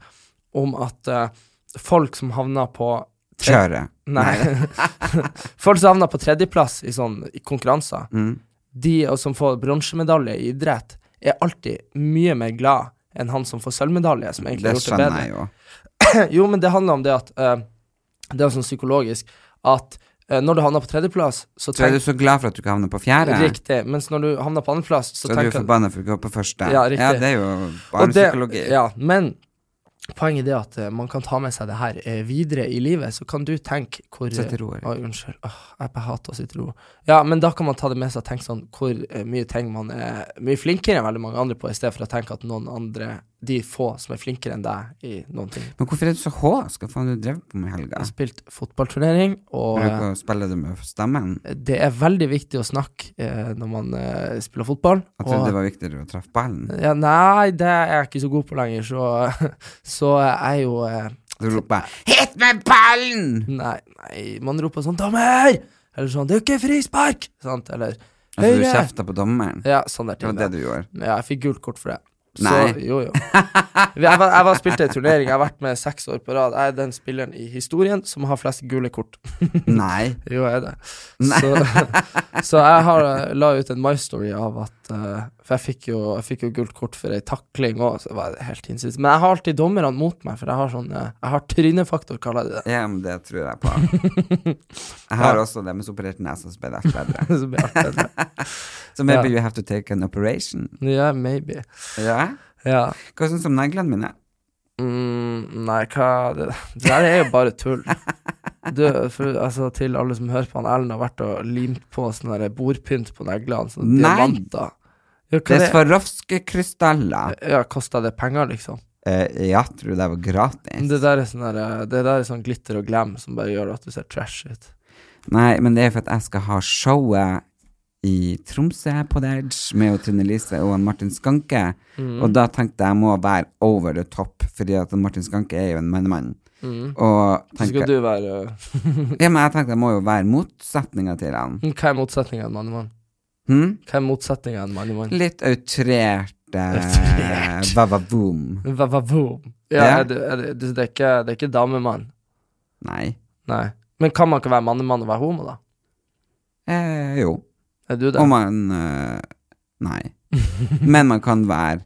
Speaker 2: om at eh, folk som havna på
Speaker 1: Kjøre.
Speaker 2: Nei. folk som havna på tredjeplass i sånn i konkurranser,
Speaker 1: Mm.
Speaker 2: de og som får bronsemedalje i idrett, er alltid mye mer glad enn han som får sølvmedalje, som egentlig
Speaker 1: Det
Speaker 2: har gjort det
Speaker 1: skjønner
Speaker 2: bedre.
Speaker 1: jeg jo.
Speaker 2: Jo, men det handler om det at eh, Det er jo sånn psykologisk at eh, når du havner på tredjeplass, så
Speaker 1: Så er
Speaker 2: tenker
Speaker 1: du så glad for at du ikke havner på fjerde,
Speaker 2: Riktig. Mens når du havner på andreplass, så,
Speaker 1: så er du
Speaker 2: tenker
Speaker 1: forbanna for å gå på første.
Speaker 2: Ja, riktig.
Speaker 1: det er jo bare
Speaker 2: Og det-
Speaker 1: psykologi.
Speaker 2: Ja, men poenget er at eh, man kan ta med seg det her eh, videre i livet. Så kan du tenke hvor
Speaker 1: Sett i ro, Erik.
Speaker 2: Oi, unnskyld. Åh, jeg bare hater å sitte i ro. Ja, men da kan man ta det med seg og tenke sånn hvor eh, mye ting man er mye flinkere enn veldig mange andre på, i stedet for å tenke at noen andre, de få som er flinkere enn deg i noen ting.
Speaker 1: Men hvorfor er du så håsk? Hva faen du drev på med i helga?
Speaker 2: Jeg har spilt fotballturnering, og eh,
Speaker 1: Bruker å spille det med stemmen?
Speaker 2: det er veldig viktig å snakke eh, når man eh, spiller fotball.
Speaker 1: Jeg
Speaker 2: og-
Speaker 1: trodde det var viktigere å treffe ballen.
Speaker 2: Ja, nei, det er jeg ikke så god på lenger, så, så jeg er jo eh,
Speaker 1: Du roper jeg, 'hit med ballen'!
Speaker 2: Nei, nei, man roper sånn 'dommer!' Eller sånn 'det er jo ikke frispark!' Sant, eller
Speaker 1: Altså, du
Speaker 2: «Høyre!»
Speaker 1: kjefta på dommeren.
Speaker 2: Ja, sånn der
Speaker 1: Det
Speaker 2: ting.
Speaker 1: var det du gjorde.
Speaker 2: Ja, jeg fikk gult kort for det.
Speaker 1: Nei.
Speaker 2: Så, jo, jo. Jeg var, jeg var spilte en turnering, jeg har vært med seks år på rad. Jeg er den spilleren i historien som har flest gule kort.
Speaker 1: Nei.
Speaker 2: Jo, jeg er det. Så, så jeg har, eh, la ut en my story av at eh, For jeg fikk jo, jeg fikk jo gult kort for ei takling òg, så det var helt hinsides. Men jeg har alltid dommerne mot meg, for jeg har sånn eh, Jeg har trynefaktor, kaller de det.
Speaker 1: Ja, men det tror jeg på. Jeg har også det med så operert nese som ble det bedre.
Speaker 2: Så blir alt bedre.
Speaker 1: Så maybe
Speaker 2: Ja.
Speaker 1: you have to take an operation.
Speaker 2: Ja, maybe.
Speaker 1: Ja?
Speaker 2: Ja.
Speaker 1: Hva syns du om neglene mine?
Speaker 2: Mm, nei, hva det, det der er jo bare tull. Du, for, altså, til alle som hører på, han Ellen har vært og limt på sånn der bordpynt på neglene. Sånne
Speaker 1: Nei.
Speaker 2: diamanter. Ja, hva
Speaker 1: Det er
Speaker 2: det,
Speaker 1: Swarovski-krystaller.
Speaker 2: ja, kosta det penger, liksom?
Speaker 1: Eh, ja, tror det var gratis.
Speaker 2: Det der er sånn der, eh, det der er sånn glitter og glam som bare gjør at du ser trash ut.
Speaker 1: Nei, men det er for at jeg skal ha showet i Tromsø på Derge med jo Trine Lise og han Martin Skanke.
Speaker 2: Mm.
Speaker 1: Og da tenkte jeg må være over the top, fordi at han Martin Skanke er jo en mannemann. Og
Speaker 2: Mm. Så skal
Speaker 1: tenker,
Speaker 2: du være eh,
Speaker 1: ja, men jeg tenkte jeg må jo være motsetninga til han.
Speaker 2: Hva er motsetninga en mann i mann?
Speaker 1: Hm?
Speaker 2: Hva er motsetninga en mann i mann?
Speaker 1: Litt outrert eh,
Speaker 2: Outrert.
Speaker 1: vavavoom.
Speaker 2: Vavavoom.
Speaker 1: Ja.
Speaker 2: Ja, er det, er det, det, det, er ikke, det er ikke damemann.
Speaker 1: Nei.
Speaker 2: Nei. Men kan man ikke være mannemann og være homo, da?
Speaker 1: Eh, jo.
Speaker 2: Er du det?
Speaker 1: Og man eh, Nei. Men man kan være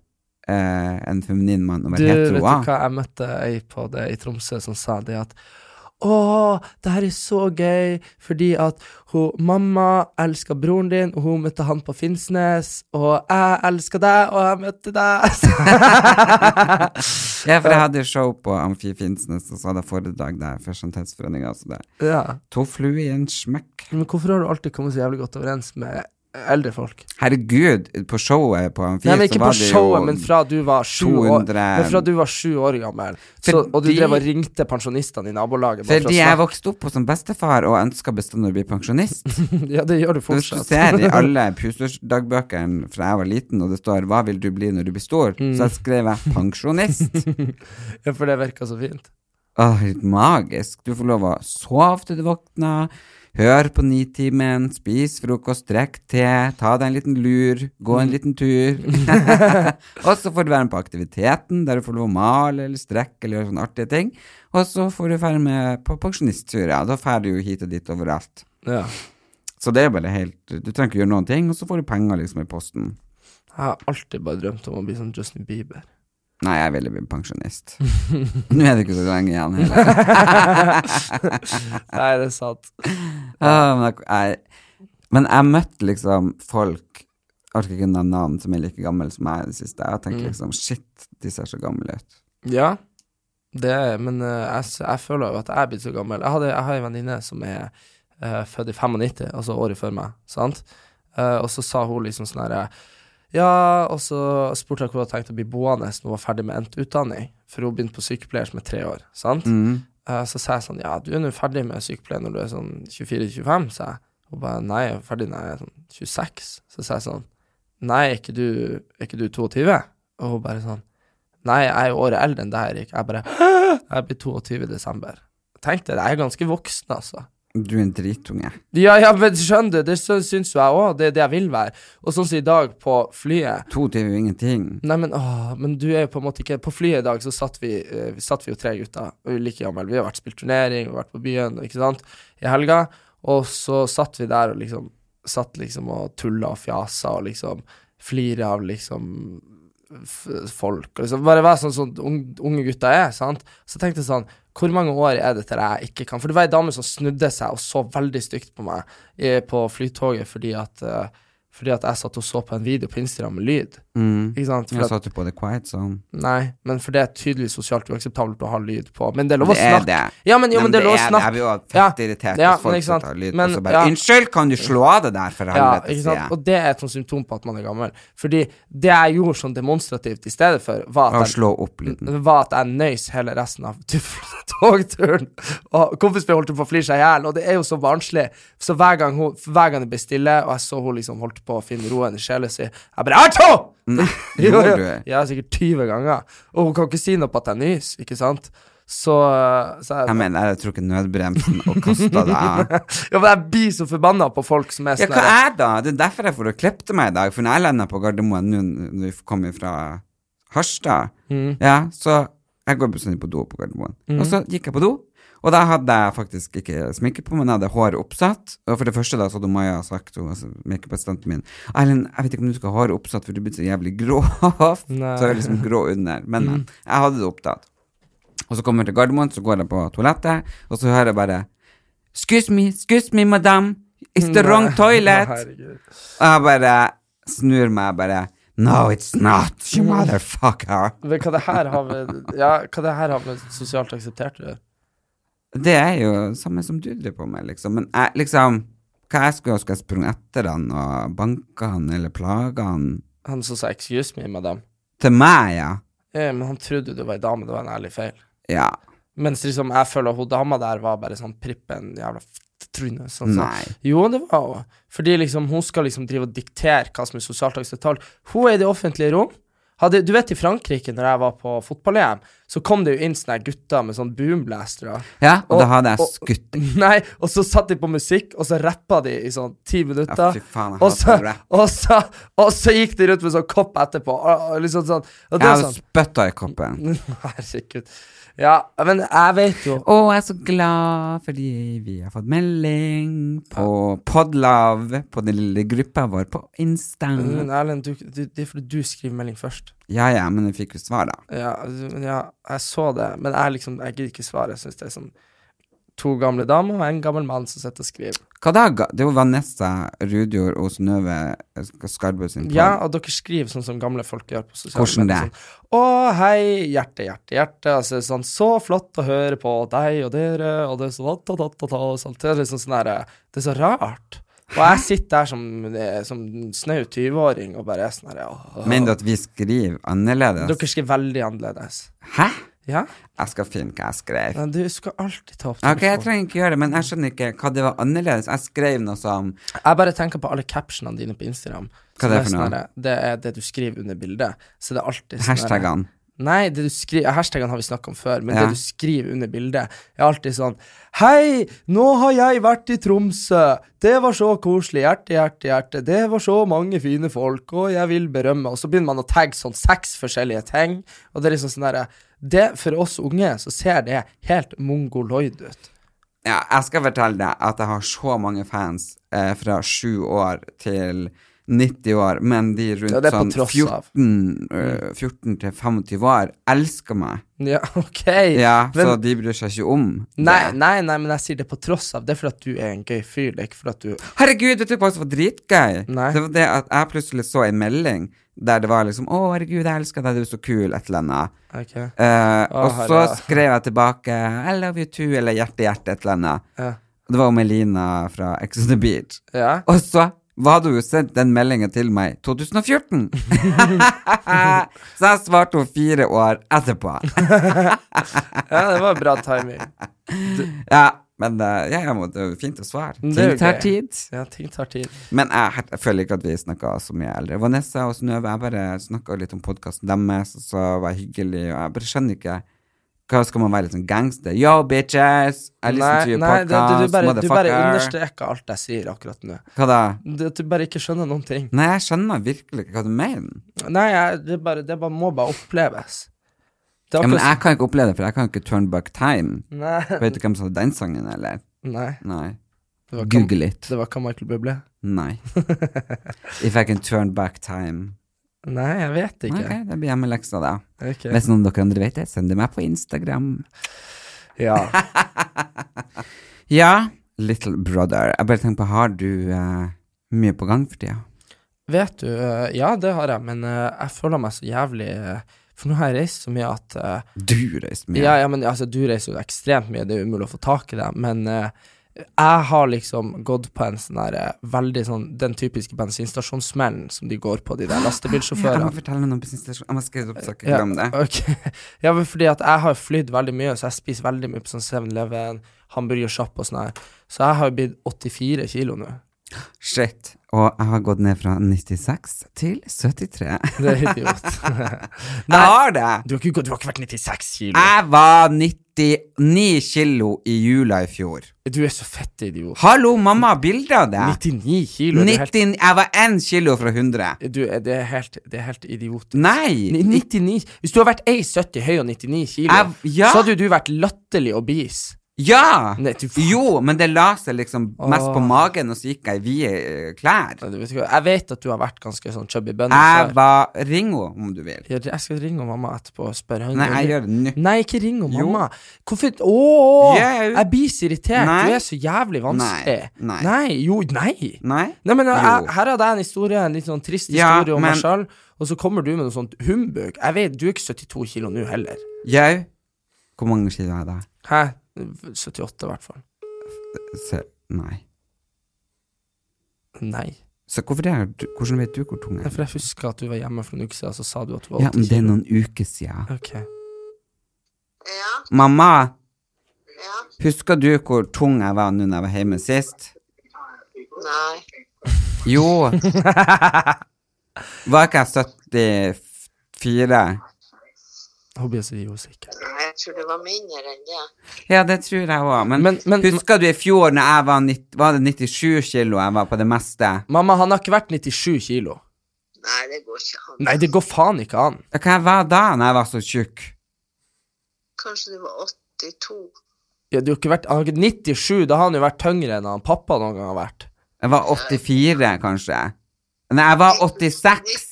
Speaker 1: eh, en feminin mann og
Speaker 2: Du,
Speaker 1: være
Speaker 2: vet du
Speaker 1: hetero.
Speaker 2: hva, jeg møtte ei på det i Tromsø som sa det at Åh, det her er så gøy, fordi at hun, mamma elsker broren din, og hun møtte han på Finnsnes, og jeg elsker deg, og jeg møtte deg.
Speaker 1: Ja, for jeg hadde jo show på Amfi Finnsnes, og så hadde jeg foredrag der for Sanitetsforeninga. Så det er
Speaker 2: ja.
Speaker 1: to fluer i en smekk.
Speaker 2: Men hvorfor har du alltid kommet så jævlig godt overens med eldre folk?
Speaker 1: Herregud, på showet på Amfi
Speaker 2: Nei, men
Speaker 1: så
Speaker 2: ikke på
Speaker 1: var det jo
Speaker 2: showet, men fra du var sju år,
Speaker 1: 200
Speaker 2: men fra du var sju år gammel, så, og du
Speaker 1: Fordi-
Speaker 2: drev og ringte pensjonistene i nabolaget. bare for å
Speaker 1: Fordi jeg
Speaker 2: snakke-
Speaker 1: vokste opp som bestefar og ønska bestandig å bli pensjonist.
Speaker 2: Ja, det gjør du
Speaker 1: Hvis du
Speaker 2: fortsatt.
Speaker 1: ser i alle Pusers-dagbøkene fra jeg var liten, og det står 'Hva vil du bli når du blir stor', så jeg skrev jeg 'pensjonist'.
Speaker 2: Ja, for det virka så fint.
Speaker 1: Åh, helt magisk. Du får lov å sove til du våkner, høre på Nitimen, spise frokost, drikke te, ta deg en liten lur, gå en liten tur. og så får du være med på aktiviteten, der du får lov å male eller strekke eller gjøre sånne artige ting. Og så får du være med på pensjonistturer, og da drar du jo hit og dit overalt.
Speaker 2: Ja.
Speaker 1: Så det er bare helt Du trenger ikke gjøre noen ting, og så får du penger liksom i posten.
Speaker 2: Jeg har alltid bare drømt om å bli sånn Justin Bieber.
Speaker 1: Nei, jeg ville bli pensjonist. Nå er det ikke så lenge igjen heller.
Speaker 2: Nei, det er sant.
Speaker 1: Ja, men, jeg, jeg, men jeg møtte liksom folk Jeg orker ikke nevne navn som er like gammel som meg i det siste. Jeg
Speaker 2: Mm.
Speaker 1: tenker liksom shit, de ser så gamle ut.
Speaker 2: Ja, det er, men eh, jeg, s- jeg føler jo at jeg er blitt så gammel. Jeg, hadde, jeg har en venninne som er eh, født i 95, altså året før meg, sant? Eh, og så sa hun liksom sånn herre Ja, og så spurte jeg hvor hun hadde tenkt å bli boende når hun var ferdig med endt utdanning, for hun begynte på sykepleier som er tre år, sant? Eh, så sa jeg sånn Ja, du er nå ferdig med sykepleier når du er sånn 24-25, sa jeg. Hun bare Nei, jeg er ferdig når jeg er sånn 26. Så sa jeg sånn Nei, er ikke du, er ikke du 22? Og hun bare sånn Nei, jeg er jo året eldre enn deg, Erik. Jeg bare Jeg blir 22 i desember. Tenk deg, jeg er ganske voksen, altså.
Speaker 1: Du er en dritunge.
Speaker 2: Ja, ja, men skjønner du, det sy- syns jo jeg òg, det er det jeg vil være. Og sånn som i dag, på flyet
Speaker 1: To det er jo ingenting.
Speaker 2: Nei, men åh, men du er jo på en måte ikke På flyet i dag så satt vi, eh, satt vi jo tre gutter, og vi er like gammel. Vi har vært spilt turnering, vi har vært på byen, ikke sant, i helga. Og så satt vi der og liksom Satt liksom og tulla og fjasa og liksom flira av liksom f- folk. Og liksom bare være sånn som ung- unge gutter er, sant. Så tenkte jeg sånn hvor mange år er det til jeg ikke kan For det var ei dame som snudde seg og så veldig stygt på meg eh, på flytoget fordi at, eh, fordi at jeg satt og så på en video på Instagram med lyd.
Speaker 1: Mm.
Speaker 2: Ikke sant? For
Speaker 1: Jeg
Speaker 2: at,
Speaker 1: satt jo på det quiet sånn.
Speaker 2: nei, men for det er tydeligvis sosialt uakseptabelt å ha lyd på. Men det er lov å
Speaker 1: Det er
Speaker 2: snakke.
Speaker 1: det.
Speaker 2: Ja, men, jo,
Speaker 1: Nei,
Speaker 2: men det er lov å snakke.
Speaker 1: Jeg blir jo
Speaker 2: Ja.
Speaker 1: fett irritert
Speaker 2: Ja,
Speaker 1: hvis folk
Speaker 2: men ikke sant.
Speaker 1: setter lyd
Speaker 2: Men,
Speaker 1: på, så bare
Speaker 2: ja.
Speaker 1: 'Unnskyld, kan du slå av det der, for
Speaker 2: Ja,
Speaker 1: helvete',
Speaker 2: ikke
Speaker 1: sier
Speaker 2: sant?
Speaker 1: jeg.
Speaker 2: Og det er et sånt symptom på at man er gammel. Fordi det jeg gjorde sånn demonstrativt i stedet for, var
Speaker 1: Og
Speaker 2: at jeg,
Speaker 1: slå opp lyden.
Speaker 2: var at jeg nøys hele resten av togturen. Og kompisen min holdt på å flire seg i hjel, og det er jo så barnslig. Så hver gang, hun, hver gang det ble stille, og jeg så hun liksom holdt på å finne roen i sjela si, jeg bare «Arto!» Jo,
Speaker 1: gjorde
Speaker 2: jo.
Speaker 1: du det?
Speaker 2: Ja, sikkert 20 ganger. Og hun kan ikke si noe på at jeg nyser, ikke sant? Så, så jeg,
Speaker 1: Jeg mener, jeg trukket nødbremsen og kasta deg av.
Speaker 2: ja, men jeg blir så forbanna på folk som er
Speaker 1: Ja,
Speaker 2: sånn
Speaker 1: hva
Speaker 2: der,
Speaker 1: er det da? Det er derfor jeg får og klipte meg i dag, for når jeg lander på Gardermoen nå når vi kommer fra Harstad, ja, så jeg går bestandig på do på Gardermoen. Og så gikk jeg på do, og da hadde jeg faktisk ikke sminke på, men jeg hadde håret oppsatt. Og for det første da så hadde Maja sagt, hun, altså makeupassistenten min, Erlend, jeg vet ikke om du skal ha håret oppsatt, for du blir så jævlig grå. så
Speaker 2: Nei.
Speaker 1: jeg er liksom grå under. Men men, jeg hadde det opptatt. Og så kommer jeg til Gardermoen, så går jeg på toalettet, og så hører jeg bare Excuse me, excuse me, madam. It's the wrong toilet.
Speaker 2: Herregud.
Speaker 1: Og jeg bare snur meg bare No, it's not, you
Speaker 2: Mm.
Speaker 1: motherfucker.
Speaker 2: Men hva det her har med Ja, hva det her har med sosialt akseptert å gjøre?
Speaker 1: Det er jo det samme som du driver på med, liksom. Men jeg, liksom Hva jeg skulle gjøre? Skulle jeg sprunget etter han og banka han eller plaga han?
Speaker 2: Han som sa 'excuse me, madam'.
Speaker 1: Til meg, ja.
Speaker 2: Ja, Eh, men han trodde jo du var ei dame, det var en ærlig feil.
Speaker 1: Ja.
Speaker 2: Mens liksom jeg føler hun dama der var bare sånn prippen jævla f- tryne. Sånn, sånn.
Speaker 1: Nei.
Speaker 2: Jo, det var hun. Fordi liksom hun skal liksom drive og diktere hva som er sosialt akseptabelt. Hun er i det offentlige rom. Hadde, du vet i Frankrike, når jeg var på fotball-EM, så kom det jo inn sånne gutter med sånn boomblastere.
Speaker 1: Ja, og,
Speaker 2: Og-
Speaker 1: da hadde
Speaker 2: og-
Speaker 1: jeg skutt deg.
Speaker 2: Nei, og så satt de på musikk, og så rappa de i sånn ti
Speaker 1: Ja,
Speaker 2: minutter.
Speaker 1: fy faen,
Speaker 2: og,
Speaker 1: jeg
Speaker 2: så,
Speaker 1: hater rap.
Speaker 2: og, så, og så gikk de rundt med sånn kopp etterpå. Og, og liksom sånn Og
Speaker 1: Jeg
Speaker 2: det er
Speaker 1: hadde
Speaker 2: sånn
Speaker 1: spytta i koppen.
Speaker 2: Herregud. Ja, men jeg vet jo
Speaker 1: Og jeg er så glad fordi vi har fått melding på Podlove, på den lille gruppa vår på Insta.
Speaker 2: Men Erlend, du, du, det er fordi du skriver melding først.
Speaker 1: Ja ja, men jeg fikk jo svar, da.
Speaker 2: Ja, du- ja jeg så det, men jeg liksom Jeg gidder ikke svare. Jeg syns det er sånn to gamle damer og en gammel mann som sitter og skriver.
Speaker 1: Hva da? ga- Det er jo Vanessa Rudjord og Synnøve Skarbø sin pod.
Speaker 2: Ja, og dere skriver sånn som gamle folk gjør på sosiale
Speaker 1: Hvordan
Speaker 2: medier.
Speaker 1: det?
Speaker 2: Sånn, å, hei, hjerte, hjerte, hjerte. Altså, sånn, så flott å høre på deg og dere, og det er så ta, ta, ta, ta, og sånt. Det er liksom sånn der, eh, det er så rart. Og jeg sitter der som, eh, som en snau 20-åring og bare er sånn her åh.
Speaker 1: Mener du at vi skriver annerledes?
Speaker 2: Dere skriver veldig annerledes.
Speaker 1: Hæ?
Speaker 2: Ja?
Speaker 1: Jeg skal finne hva jeg skrev.
Speaker 2: Men du skal alltid ta opp
Speaker 1: Ok, Jeg
Speaker 2: telefonen.
Speaker 1: trenger ikke gjøre det, men jeg skjønner ikke hva det var annerledes. Jeg skrev noe som
Speaker 2: Jeg bare tenker på alle captionene dine på Instagram.
Speaker 1: Hva er det
Speaker 2: Som
Speaker 1: for noe?
Speaker 2: sånn her, Det er det du skriver under bildet. Så det er alltid sånn her-
Speaker 1: hashtagene.
Speaker 2: Nei, det du skriver, hashtagene har vi snakket om før, men
Speaker 1: Ja.
Speaker 2: det du skriver under bildet, er alltid sånn Hei, nå har jeg vært i Tromsø. Det var så koselig. Hjerte, hjerte, hjerte. Det var så mange fine folk, og jeg vil berømme. Og så begynner man å tagge sånn seks forskjellige ting, og det er liksom sånn derre det, For oss unge så ser det helt mongoloid ut.
Speaker 1: Ja, jeg skal fortelle deg at jeg har så mange fans eh, fra sju år til 90 år, men de rundt
Speaker 2: Ja, det er på
Speaker 1: sånn
Speaker 2: tross
Speaker 1: 14,
Speaker 2: av. Mm.
Speaker 1: eh, 14 til 25 år elsker meg.
Speaker 2: Ja, OK.
Speaker 1: Ja,
Speaker 2: men,
Speaker 1: så de bryr seg ikke om
Speaker 2: nei,
Speaker 1: det.
Speaker 2: nei, nei, men jeg sier det på tross av. Det er fordi at du er en gøy fyr. Det er ikke fordi at du
Speaker 1: Herregud, vet du hva som var dritgøy?
Speaker 2: Nei.
Speaker 1: Det var det at jeg plutselig så en melding der det var liksom 'Å, herregud, jeg elsker deg, du er så kul', et eller annet.
Speaker 2: Ok.
Speaker 1: Eh, og så
Speaker 2: herre.
Speaker 1: skrev jeg tilbake 'I love you too', eller 'hjerte, hjerte', et eller annet.
Speaker 2: Ja.
Speaker 1: Det var Melina fra Ex on the Beach.
Speaker 2: ja.
Speaker 1: Og så hadde hun sendt den meldingen til meg 2014. så jeg svarte henne fire år etterpå.
Speaker 2: ja, det var bra timing.
Speaker 1: Ja, men eh, ja, jeg må- det er jo fint å svare.
Speaker 2: Men det er
Speaker 1: Ting
Speaker 2: jo
Speaker 1: tar
Speaker 2: gøy.
Speaker 1: tid.
Speaker 2: Ja, ting tar tid.
Speaker 1: Men jeg, het- jeg føler ikke at vi snakka så mye eldre. Vanessa og Synnøve, jeg bare snakka litt om podkasten deres, og så var jeg hyggelig, og jeg bare skjønner ikke Hva skal man være litt sånn gangster? Yo, bitches! I listen to your
Speaker 2: nei, det- du, du,
Speaker 1: podcast,
Speaker 2: bare, du bare
Speaker 1: motherfucker.
Speaker 2: understreker alt jeg sier akkurat nå.
Speaker 1: Hva da?
Speaker 2: Det, at du bare ikke skjønner noen ting.
Speaker 1: Nei, jeg skjønner virkelig ikke hva du mener.
Speaker 2: Nei, jeg, det, bare, det bare, må bare oppleves. Det er
Speaker 1: Ja, men
Speaker 2: akkurat-
Speaker 1: jeg kan ikke oppleve det, for jeg kan ikke turn back time.
Speaker 2: Nei,
Speaker 1: Vet du hvem som hadde den sangen, eller?
Speaker 2: nei.
Speaker 1: Nei.
Speaker 2: Det var ikke-
Speaker 1: Google litt.
Speaker 2: Det var ikke Michael Bublé.
Speaker 1: Nei. If I can turn back time.
Speaker 2: Nei, jeg vet
Speaker 1: Ok,
Speaker 2: ikke.
Speaker 1: det blir hjemmeleksa, da.
Speaker 2: Ok.
Speaker 1: Hvis noen av dere andre vet det, send det meg på Instagram.
Speaker 2: Ja.
Speaker 1: Ja, Little Brother. Jeg bare tenker på, har du eh, mye på gang for tida?
Speaker 2: Vet du, eh, ja, det har jeg, men eh, jeg føler meg så jævlig eh, For nå har jeg reist så mye at eh,
Speaker 1: Du reiser mye.
Speaker 2: Ja, ja, men altså, du reiser jo ekstremt mye, det er jo umulig å få tak i deg, men eh, jeg har liksom gått på en sånn der eh, veldig sånn Den typiske bensinstasjonssmellen som de går på, de der
Speaker 1: Jeg må
Speaker 2: lastebilsjåførene.
Speaker 1: fortelle noe om bensinstasjon. Jeg må skrive opp så jeg ikke
Speaker 2: Ja,
Speaker 1: glemmer det.
Speaker 2: ok. ja, men fordi at jeg har flydd veldig mye, så jeg spiser veldig mye på sånn 7-Eleven, hamburgersjapp og sånn her. Så jeg har jo blitt 84 kilo nå.
Speaker 1: Shit. Og jeg har gått ned fra 96 til 73.
Speaker 2: Det er idiot.
Speaker 1: Jeg har det!
Speaker 2: Du har ikke, gått- du har ikke vært 96 kilo.
Speaker 1: Jeg var 99 kilo i jula i fjor.
Speaker 2: Du er så fett idiot.
Speaker 1: Hallo, mamma, har bilde av det?
Speaker 2: 99 kilo, er du helt,
Speaker 1: 90, jeg var 1 kilo fra 100.
Speaker 2: du, er- det, er helt, det er helt idiotisk. Ni-
Speaker 1: Nei!
Speaker 2: 99 Hvis du har vært 1,70 høy og 99 kilo,
Speaker 1: Jeg- ja.
Speaker 2: så hadde jo du vært latterlig obese.
Speaker 1: Ja!
Speaker 2: Nei, du faen.
Speaker 1: Jo, men det la seg liksom mest på
Speaker 2: Åh.
Speaker 1: magen, og så gikk jeg i vide eh, klær.
Speaker 2: Nei, du vet ikke hva, Jeg vet at du har vært ganske sånn chubby bunny
Speaker 1: Jeg
Speaker 2: før.
Speaker 1: var Ringo, om du vil.
Speaker 2: Jeg jeg skal ringe mamma etterpå og spørre henne.
Speaker 1: Nei, jeg gjør det nå.
Speaker 2: Nei, ikke ring
Speaker 1: Jo.
Speaker 2: mamma. Hvorfor Ååå!
Speaker 1: Jau.
Speaker 2: Jeg blir så irritert.
Speaker 1: Nei.
Speaker 2: Du er så jævlig vanskelig.
Speaker 1: Nei. Nei.
Speaker 2: Jo, nei.
Speaker 1: Nei?
Speaker 2: Nei, men jeg,
Speaker 1: Jo.
Speaker 2: her hadde jeg en historie, en litt sånn trist
Speaker 1: Ja,
Speaker 2: historie om
Speaker 1: men-
Speaker 2: meg sjøl, og så kommer du med noe sånt humbug. Jeg vet, Du er ikke 72 kilo nå heller.
Speaker 1: Jau. Hvor mange kilo er jeg da?
Speaker 2: Hæ? 78, i hvert fall.
Speaker 1: Se, nei.
Speaker 2: Nei.
Speaker 1: Så hvorfor det? er du- Hvordan vet du hvor tung jeg
Speaker 2: Nei,
Speaker 1: er?
Speaker 2: for jeg husker at du var hjemme for en uke siden, så sa du at du var
Speaker 1: Ja,
Speaker 2: 80
Speaker 1: men det er
Speaker 2: kilo.
Speaker 1: noen uker siden.
Speaker 2: Ok.
Speaker 1: Mamma! Husker du hvor tung jeg var nå når jeg var hjemme sist? Nei. Jo. Var ikke jeg 74?
Speaker 2: Hun blir så usikker.
Speaker 3: Jeg tror det var mindre enn det.
Speaker 1: Ja, det tror jeg òg. Men,
Speaker 2: Men- men-
Speaker 1: husker du i fjor når jeg var, nitt- var det 97 kilo jeg var på det meste?
Speaker 2: Mamma, han har ikke vært 97 kilo.
Speaker 3: Nei, det går ikke an.
Speaker 2: Nei, det går faen ikke an.
Speaker 1: Hva jeg var da når jeg var så tjukk?
Speaker 3: Kanskje det var 82.
Speaker 2: Ja, du har ikke vært, han har ikke- 97, da har han jo vært tyngre enn han pappa noen gang har vært.
Speaker 1: Jeg var 84, kanskje. Nei, jeg var 86.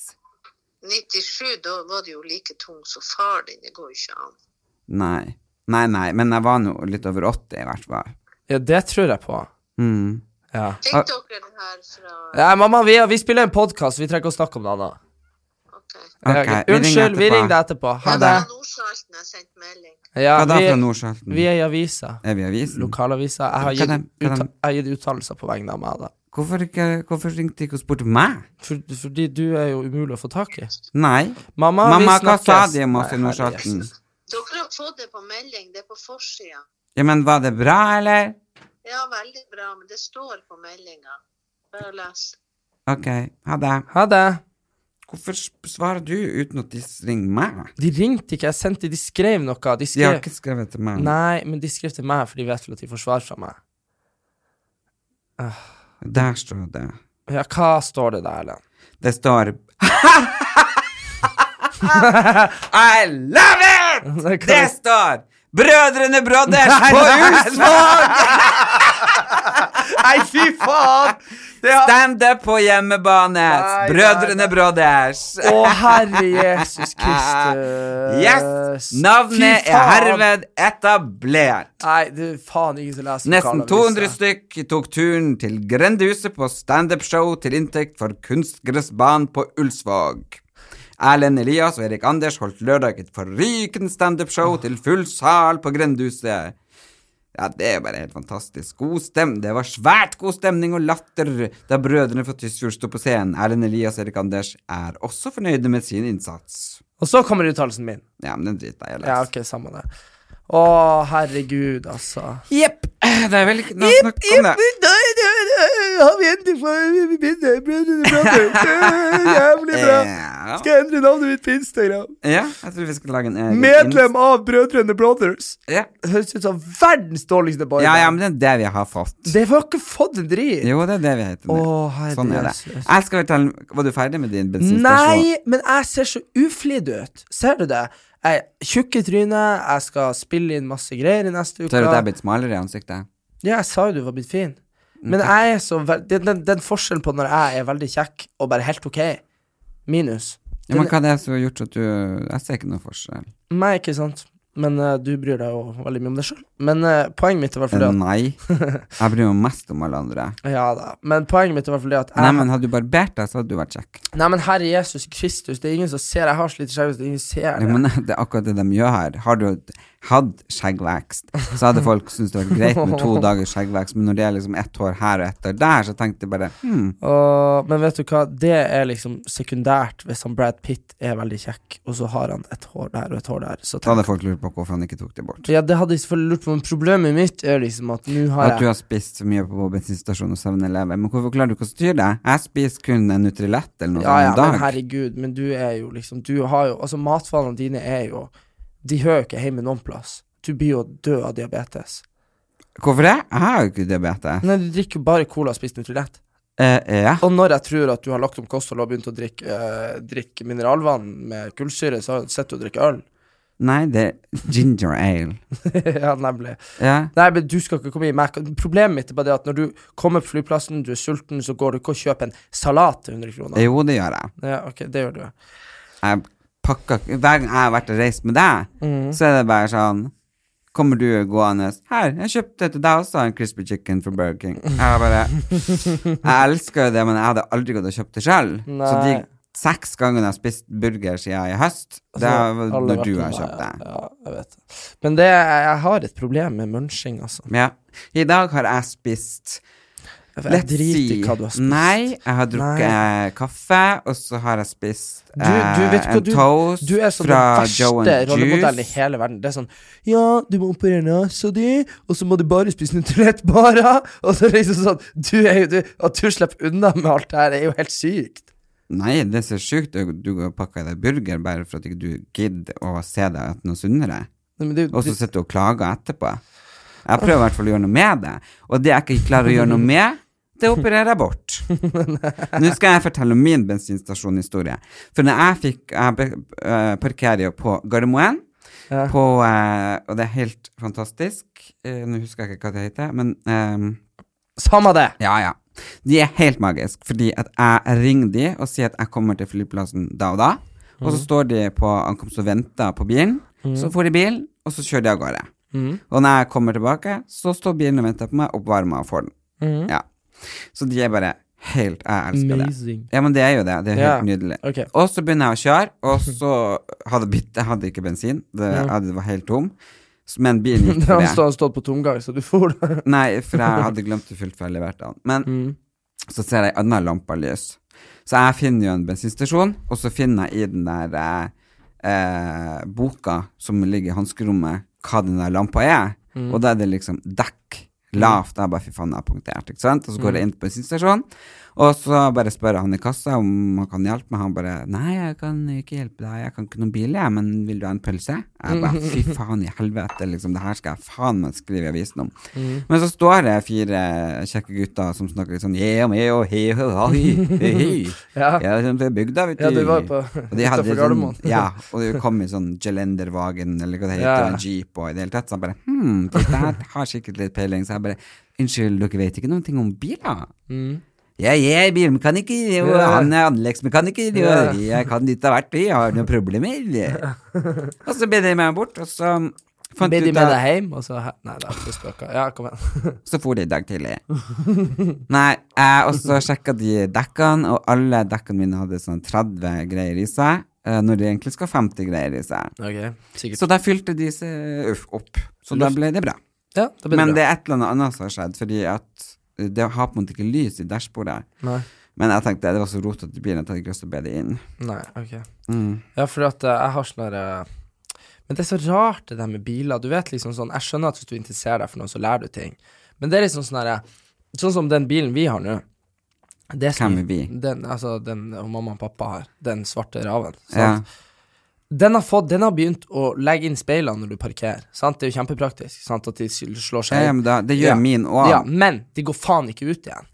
Speaker 3: 97, da var du jo like tung som far din. Det går jo ikke an.
Speaker 1: Nei. Nei, nei, men jeg var nå litt over 80, i hvert fall.
Speaker 2: Ja, det tror jeg på.
Speaker 1: Mm.
Speaker 2: Ja.
Speaker 1: Ah.
Speaker 3: Fikk dere det her fra
Speaker 2: Nei, mamma, vi, vi spiller en podkast, vi trenger ikke å snakke om det annet.
Speaker 3: OK.
Speaker 1: Ok,
Speaker 2: Ja,
Speaker 1: vi ringer
Speaker 2: Unnskyld, vi
Speaker 1: etterpå.
Speaker 2: ringer deg etterpå.
Speaker 3: Ja,
Speaker 2: Ha
Speaker 3: det var
Speaker 2: det.
Speaker 3: Nordsalten jeg sendte melding.
Speaker 2: Ja,
Speaker 1: Hva da fra
Speaker 2: vi,
Speaker 1: Nordsalten?
Speaker 2: vi er i avisa.
Speaker 1: Er vi i avisen?
Speaker 2: Lokalavisa. Jeg har
Speaker 1: Hva
Speaker 2: gitt,
Speaker 1: dem- hva dem-
Speaker 2: utta, jeg har gitt uttalelser på vegne av meg, da.
Speaker 1: Hvorfor, ikke, hvorfor ringte de ikke og spurte meg?
Speaker 2: For, fordi du er jo umulig å få tak i.
Speaker 1: Nei.
Speaker 2: Mamma, vi
Speaker 1: Mamma, hva
Speaker 2: snakkes.
Speaker 1: sa de om oss i
Speaker 2: Nei,
Speaker 1: Nordsalten?
Speaker 2: herregud.
Speaker 3: Dere har fått det på melding. Det er på forsida.
Speaker 1: Ja, men var det bra, eller?
Speaker 3: Ja, veldig bra, men det står på meldinga. Bare les.
Speaker 1: Ok, ha det.
Speaker 2: Ha det.
Speaker 1: Hvorfor sp- svarer du uten at de ringer meg?
Speaker 2: De ringte ikke, jeg sendte De skrev noe. De
Speaker 1: De har
Speaker 2: skrev
Speaker 1: ikke skrevet til meg.
Speaker 2: Nei, men de skrev til meg, for de vet vel at de får svar fra meg.
Speaker 1: Der står det.
Speaker 2: Ja, hva står det der, Ellen?
Speaker 1: Det står I love
Speaker 2: Det
Speaker 1: it!
Speaker 2: kan-
Speaker 1: Det står Brødrene Brothers på Ulsvåg!
Speaker 2: Nei, fy faen!
Speaker 1: Standup på hjemmebane.
Speaker 2: Nei, nei, nei.
Speaker 1: Brødrene Brothers.
Speaker 2: Å, herre Jesus Kristus.
Speaker 1: Yes!
Speaker 2: Fy
Speaker 1: Navnet er
Speaker 2: faen.
Speaker 1: herved etablert.
Speaker 2: Nei, du, faen, ingen som leser
Speaker 1: Nesten
Speaker 2: lokalavisa.
Speaker 1: 200 stykk tok turen til grendehuset på standup-show til inntekt for kunstgressbanen på Ulsvåg. Erlend Elias og Erik Anders holdt lørdag et forrykende standup-show til full sal på grendehuset. Ja, det er jo bare helt fantastisk. God stem. Det var svært god stemning og latter da brødrene fra Tysfjord sto på scenen. Erlend Elias og Erik Anders er også fornøyde med sin innsats.
Speaker 2: Og så kommer uttalelsen min.
Speaker 1: Ja, men den driter jeg i. å lese.
Speaker 2: Ja, ok, samme det. Å, herregud, altså.
Speaker 1: Jepp. Det er vel ikke noe snakk om det.
Speaker 2: Har vi endelig fått Brødrene Brothers? Jævlig
Speaker 1: Ja, Ja.
Speaker 2: Skal jeg endre navnet mitt på Instagram?
Speaker 1: Ja, jeg tror vi skal lage en egen
Speaker 2: Medlem av Brødrene Brothers.
Speaker 1: ins- Ja.
Speaker 2: Høres ut som verdens dårligste boy.
Speaker 1: ja, ja, men det er det vi har fått.
Speaker 2: Det har ikke fått en drit.
Speaker 1: Jo, det er det vi heter nå.
Speaker 2: Å, herre
Speaker 1: sånn er det.
Speaker 2: Jesus.
Speaker 1: Jeg skal fortelle, Var du ferdig med din bensinstasjon?
Speaker 2: Nei, men jeg ser så uflidd ut. Ser du det? Jeg er tjukk i trynet, jeg skal spille inn masse greier i neste uke.
Speaker 1: Ser du at jeg er blitt smalere i ansiktet?
Speaker 2: Ja, jeg sa jo du var blitt fin.
Speaker 1: Mm.
Speaker 2: Men jeg er så vel- den, den, den forskjellen på når jeg er veldig kjekk og bare helt ok, minus
Speaker 1: Ja, men hva er det som har gjort at du Jeg ser ikke noe forskjell.
Speaker 2: meg, ikke sant? Men eh, du bryr deg jo veldig mye om deg sjøl. Men eh, poenget mitt er i hvert fall det at
Speaker 1: Nei. Jeg bryr meg mest om alle andre.
Speaker 2: Ja da. Men poenget mitt er i hvert fall det at jeg,
Speaker 1: Nei, men hadde du barbert deg, så hadde du vært kjekk.
Speaker 2: Nei, men herre Jesus Kristus, det er ingen som ser Jeg har så lite skjevhet, det er ingen som ser
Speaker 1: Ja,
Speaker 2: det.
Speaker 1: men det er akkurat det de gjør her. Har du hatt skjeggvekst, så hadde folk syntes det var greit med to dager skjeggvekst, men når det er liksom ett hår her og ett hår der, så tenkte jeg bare hm,
Speaker 2: Og, men vet du hva, det er liksom sekundært hvis han Brad Pitt er veldig kjekk, og så har han et hår der og et hår der. Så
Speaker 1: da
Speaker 2: tenk,
Speaker 1: hadde folk lurt på hvorfor han ikke tok det bort.
Speaker 2: ja, det hadde jeg selvfølgelig lurt på, men problemet mitt er liksom at nå har
Speaker 1: At du
Speaker 2: jeg
Speaker 1: har spist så mye på bensinstasjon og 7-Eleven, men hvorfor klarer du ikke å styre deg? Jeg spiser kun en Nutrilett eller noe
Speaker 2: Ja, ja,
Speaker 1: sånt i
Speaker 2: men
Speaker 1: dag.
Speaker 2: herregud, men du er jo liksom Du har jo Altså, matvanene dine er jo De hører jo ikke hjemme noen plass. Du blir jo død av diabetes.
Speaker 1: Hvorfor det? Jeg har jo ikke diabetes.
Speaker 2: Nei, du drikker jo bare cola og spiser Nutrilett.
Speaker 1: Eh, ja.
Speaker 2: Og når jeg tror at du har lagt om kosthold og begynt å drikke, eh, drikke mineralvann med kullsyre, så sitter du og drikker øl.
Speaker 1: Nei, det er ginger ale.
Speaker 2: ja, nemlig.
Speaker 1: Ja.
Speaker 2: Nei, men du skal ikke komme i meg. Problemet mitt er bare det at når du kommer på flyplassen, du er sulten, så går du ikke og kjøper en salat til 100 kroner.
Speaker 1: Jo, det gjør jeg.
Speaker 2: Ja, ok, det gjør du.
Speaker 1: jeg pakker, ikke- Hver gang jeg har vært og reist med deg,
Speaker 2: Mm.
Speaker 1: så er det bare sånn Kommer du gående 'Her, jeg kjøpte til deg også en crispy chicken fra Burger King'. Jeg bare Jeg elsker jo det, men jeg hadde aldri gått og kjøpt det sjøl. Så
Speaker 2: Nei.
Speaker 1: de seks gangene jeg har spist burger siden i høst, det er
Speaker 2: Så alle
Speaker 1: når du har
Speaker 2: vært med
Speaker 1: kjøpt
Speaker 2: meg,
Speaker 1: det.
Speaker 2: Ja, ja, jeg vet det. Men det, jeg har et problem med munching, altså.
Speaker 1: Ja. I dag har jeg spist
Speaker 2: Jeg, jeg
Speaker 1: Let's
Speaker 2: driter i
Speaker 1: see.
Speaker 2: hva du har spist.
Speaker 1: Nei, jeg har drukket eh, kaffe, og så har jeg spist
Speaker 2: Du, du vet
Speaker 1: eh,
Speaker 2: hva
Speaker 1: en
Speaker 2: du
Speaker 1: toast
Speaker 2: Du er sånn den
Speaker 1: fra Joe
Speaker 2: verste
Speaker 1: and
Speaker 2: rollemodellen i
Speaker 1: Juice.
Speaker 2: hele verden. Det er sånn Ja, du må operere nesa di, og så må du bare spise Nutrilett bare. Og så er det liksom sånn du er jo, du, At du slipper unna med alt det her, er jo helt sykt.
Speaker 1: Nei, det ser sjukt ut. Du går og pakker deg burger bare for at ikke du gidder å se deg at noe sunnere.
Speaker 2: Nei, Men det,
Speaker 1: Og så sitter du og klager etterpå. Jeg prøver i hvert fall å gjøre noe med det. Og det jeg ikke klarer å gjøre noe med, det opererer jeg bort. Nå skal jeg fortelle om min bensinstasjonhistorie. For når jeg fikk Jeg be- eh, parkerer jo på Gardermoen.
Speaker 2: Ja.
Speaker 1: På, eh, og det er helt fantastisk. Eh, Nå husker jeg ikke hva det heter, men ehm,
Speaker 2: Samme det!
Speaker 1: ja, ja. De er helt magiske, fordi at jeg ringer de og sier at jeg kommer til flyplassen da og da. Og
Speaker 2: Mm.
Speaker 1: så står de på ankomst og venter på bilen. Så får de bilen, og så kjører de av gårde.
Speaker 2: Mm.
Speaker 1: Og når jeg kommer tilbake, så står bilen og venter på meg, oppvarma og får den. Ja. Så de er bare helt Jeg Mm. elsker
Speaker 2: Mm. Amazing.
Speaker 1: det. Ja, men det er jo det. Det er helt
Speaker 2: Ja.
Speaker 1: nydelig.
Speaker 2: Ok.
Speaker 1: Og så begynner jeg å kjøre, og så hadde jeg bytt- Jeg hadde ikke bensin. Det, jeg hadde- det var helt tom. S- Men bilen gikk for
Speaker 2: Han
Speaker 1: det.
Speaker 2: stod, han stod på tomgang, så du for da.
Speaker 1: Nei, for jeg hadde glemt å fylle for levert den. Men så ser jeg ei anna lampe lys. Så jeg finner jo en bensinstasjon, og så finner jeg i den der eh, eh, boka som ligger i hanskerommet, hva den der lampa er. Og da er det liksom dekk lavt. Jeg bare fy faen, jeg har punktert, ikke sant? Og så går jeg inn på bensinstasjonen, og så bare spør jeg han i kassa om han kan hjelpe meg. Han bare nei, jeg kan ikke hjelpe deg, jeg kan ikke noen bil, jeg, men vil du ha en pølse? Jeg
Speaker 2: Mm.
Speaker 1: bare fy faen i helvete, liksom, det her skal jeg faen meg skrive i avisen om.
Speaker 2: Mm.
Speaker 1: Men så står det fire kjekke gutter som snakker litt sånn yeah, yeah, oh, hey, oh, oh, hey, hey, hey.
Speaker 2: Ja.
Speaker 1: Jeg er sånn fra bygda, vet du.
Speaker 2: Ja, du var jo på-
Speaker 1: Og de hadde
Speaker 2: utenfor
Speaker 1: sånn,
Speaker 2: Gardermoen.
Speaker 1: ja, og det kom i sånn gelendervagen, eller hva det heter,
Speaker 2: Ja.
Speaker 1: en jeep og i det hele tatt. Så jeg bare hm, det der har sikkert litt peiling. Så jeg bare unnskyld, dere vet ikke noen ting om biler? Ja, jeg er bilmekaniker, og
Speaker 2: Ja.
Speaker 1: han er anleggsmekaniker,
Speaker 2: Ja.
Speaker 1: og jeg kan litt av hvert, jeg har noen problemer. Og så ble de med meg bort, og så fant
Speaker 2: Ble
Speaker 1: jeg
Speaker 2: de
Speaker 1: ut
Speaker 2: med
Speaker 1: at
Speaker 2: deg hjem, og så hæ- Nei, det er ikke spøka. Ja, kom igjen.
Speaker 1: så for de i dag tidlig. Nei, eh, og så sjekka de dekkene, og alle dekkene mine hadde sånn 30 greier i seg, eh, når de egentlig skal ha 50 greier i seg.
Speaker 2: Ok, sikkert.
Speaker 1: Så da fylte de seg uff, opp. Så da ble det bra.
Speaker 2: Ja, da ble
Speaker 1: Men
Speaker 2: det
Speaker 1: det er et eller annet annet som har skjedd, fordi at eh, det har på en måte ikke lys i dashbordet.
Speaker 2: Nei.
Speaker 1: Men jeg tenkte det var så rotete i bilen at jeg hadde ikke lyst til å be det inn.
Speaker 2: bra. Nei, ok.
Speaker 1: Mm.
Speaker 2: Ja, fordi at eh, jeg har sånn der eh, Men det er så rart det der med biler. Du vet liksom sånn Jeg skjønner at hvis du eh, interesserer deg for noe, så lærer du ting. Men det er liksom sånn derre Sånn som den bilen vi har nå. Det som-
Speaker 1: Hvem er vi?
Speaker 2: Den, altså, den og mamma og pappa har. Den svarte raven.
Speaker 1: Ja.
Speaker 2: Sant? Den, har fått, den har begynt å legge inn speilene når du parkerer. Sant? Det er jo kjempepraktisk. Sant? At de slår seg
Speaker 1: Ja, ja, men da, det gjør
Speaker 2: Ja.
Speaker 1: min òg.
Speaker 2: ja, men de går faen ikke ut igjen.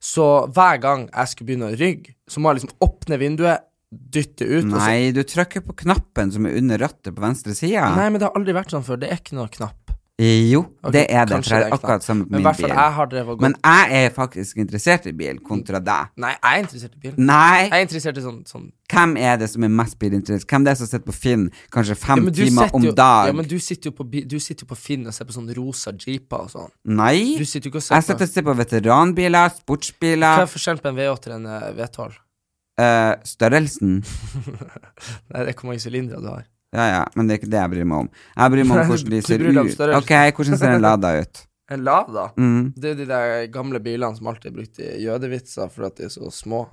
Speaker 2: Så hver gang jeg skulle begynne å rygge, så må jeg liksom åpne vinduet, dytte ut og så-
Speaker 1: Nei, du trykker på knappen som er under rattet på venstre side.
Speaker 2: Nei, men det har aldri vært sånn før. Det er ikke noe knapp.
Speaker 1: Jo,
Speaker 2: Ok,
Speaker 1: det er det.
Speaker 2: kanskje
Speaker 1: For det
Speaker 2: det
Speaker 1: er
Speaker 2: er
Speaker 1: akkurat
Speaker 2: knapp.
Speaker 1: samme på
Speaker 2: Men i
Speaker 1: min
Speaker 2: hvert fall
Speaker 1: bil.
Speaker 2: jeg har drevet og gått
Speaker 1: Men jeg er faktisk interessert i bil, kontra deg.
Speaker 2: Nei, jeg er interessert i bil.
Speaker 1: Nei!
Speaker 2: Jeg er interessert i sånn, sånn
Speaker 1: Hvem er det som er mest bilinteressert? Hvem det er som sitter på Finn kanskje
Speaker 2: Ja,
Speaker 1: fem
Speaker 2: men du
Speaker 1: timer
Speaker 2: sitter
Speaker 1: om
Speaker 2: jo, Ja,
Speaker 1: dag?
Speaker 2: men du sitter jo på, bi- du sitter jo på Finn og ser på sånne rosa jeeper og sånn.
Speaker 1: Nei!
Speaker 2: Du sitter jo ikke og
Speaker 1: Jeg
Speaker 2: ser
Speaker 1: sitter og
Speaker 2: på
Speaker 1: ser på veteranbiler,
Speaker 2: Hva
Speaker 1: sportsbiler,
Speaker 2: er forskjellen på en V8 og en eh, V12?
Speaker 1: eh, størrelsen.
Speaker 2: Nei, det er hvor mange sylindere du har.
Speaker 1: Ja, ja, men det er ikke det jeg bryr meg om. Jeg bryr meg om
Speaker 2: Nei,
Speaker 1: hvordan de
Speaker 2: du
Speaker 1: ser
Speaker 2: bryr deg om
Speaker 1: ut.
Speaker 2: størrelsen.
Speaker 1: Ok, hvordan ser en Lada ut?
Speaker 2: En Lada?
Speaker 1: Mm.
Speaker 2: Det er jo de der gamle bilene som alltid er brukt i jødevitser fordi at de er så små.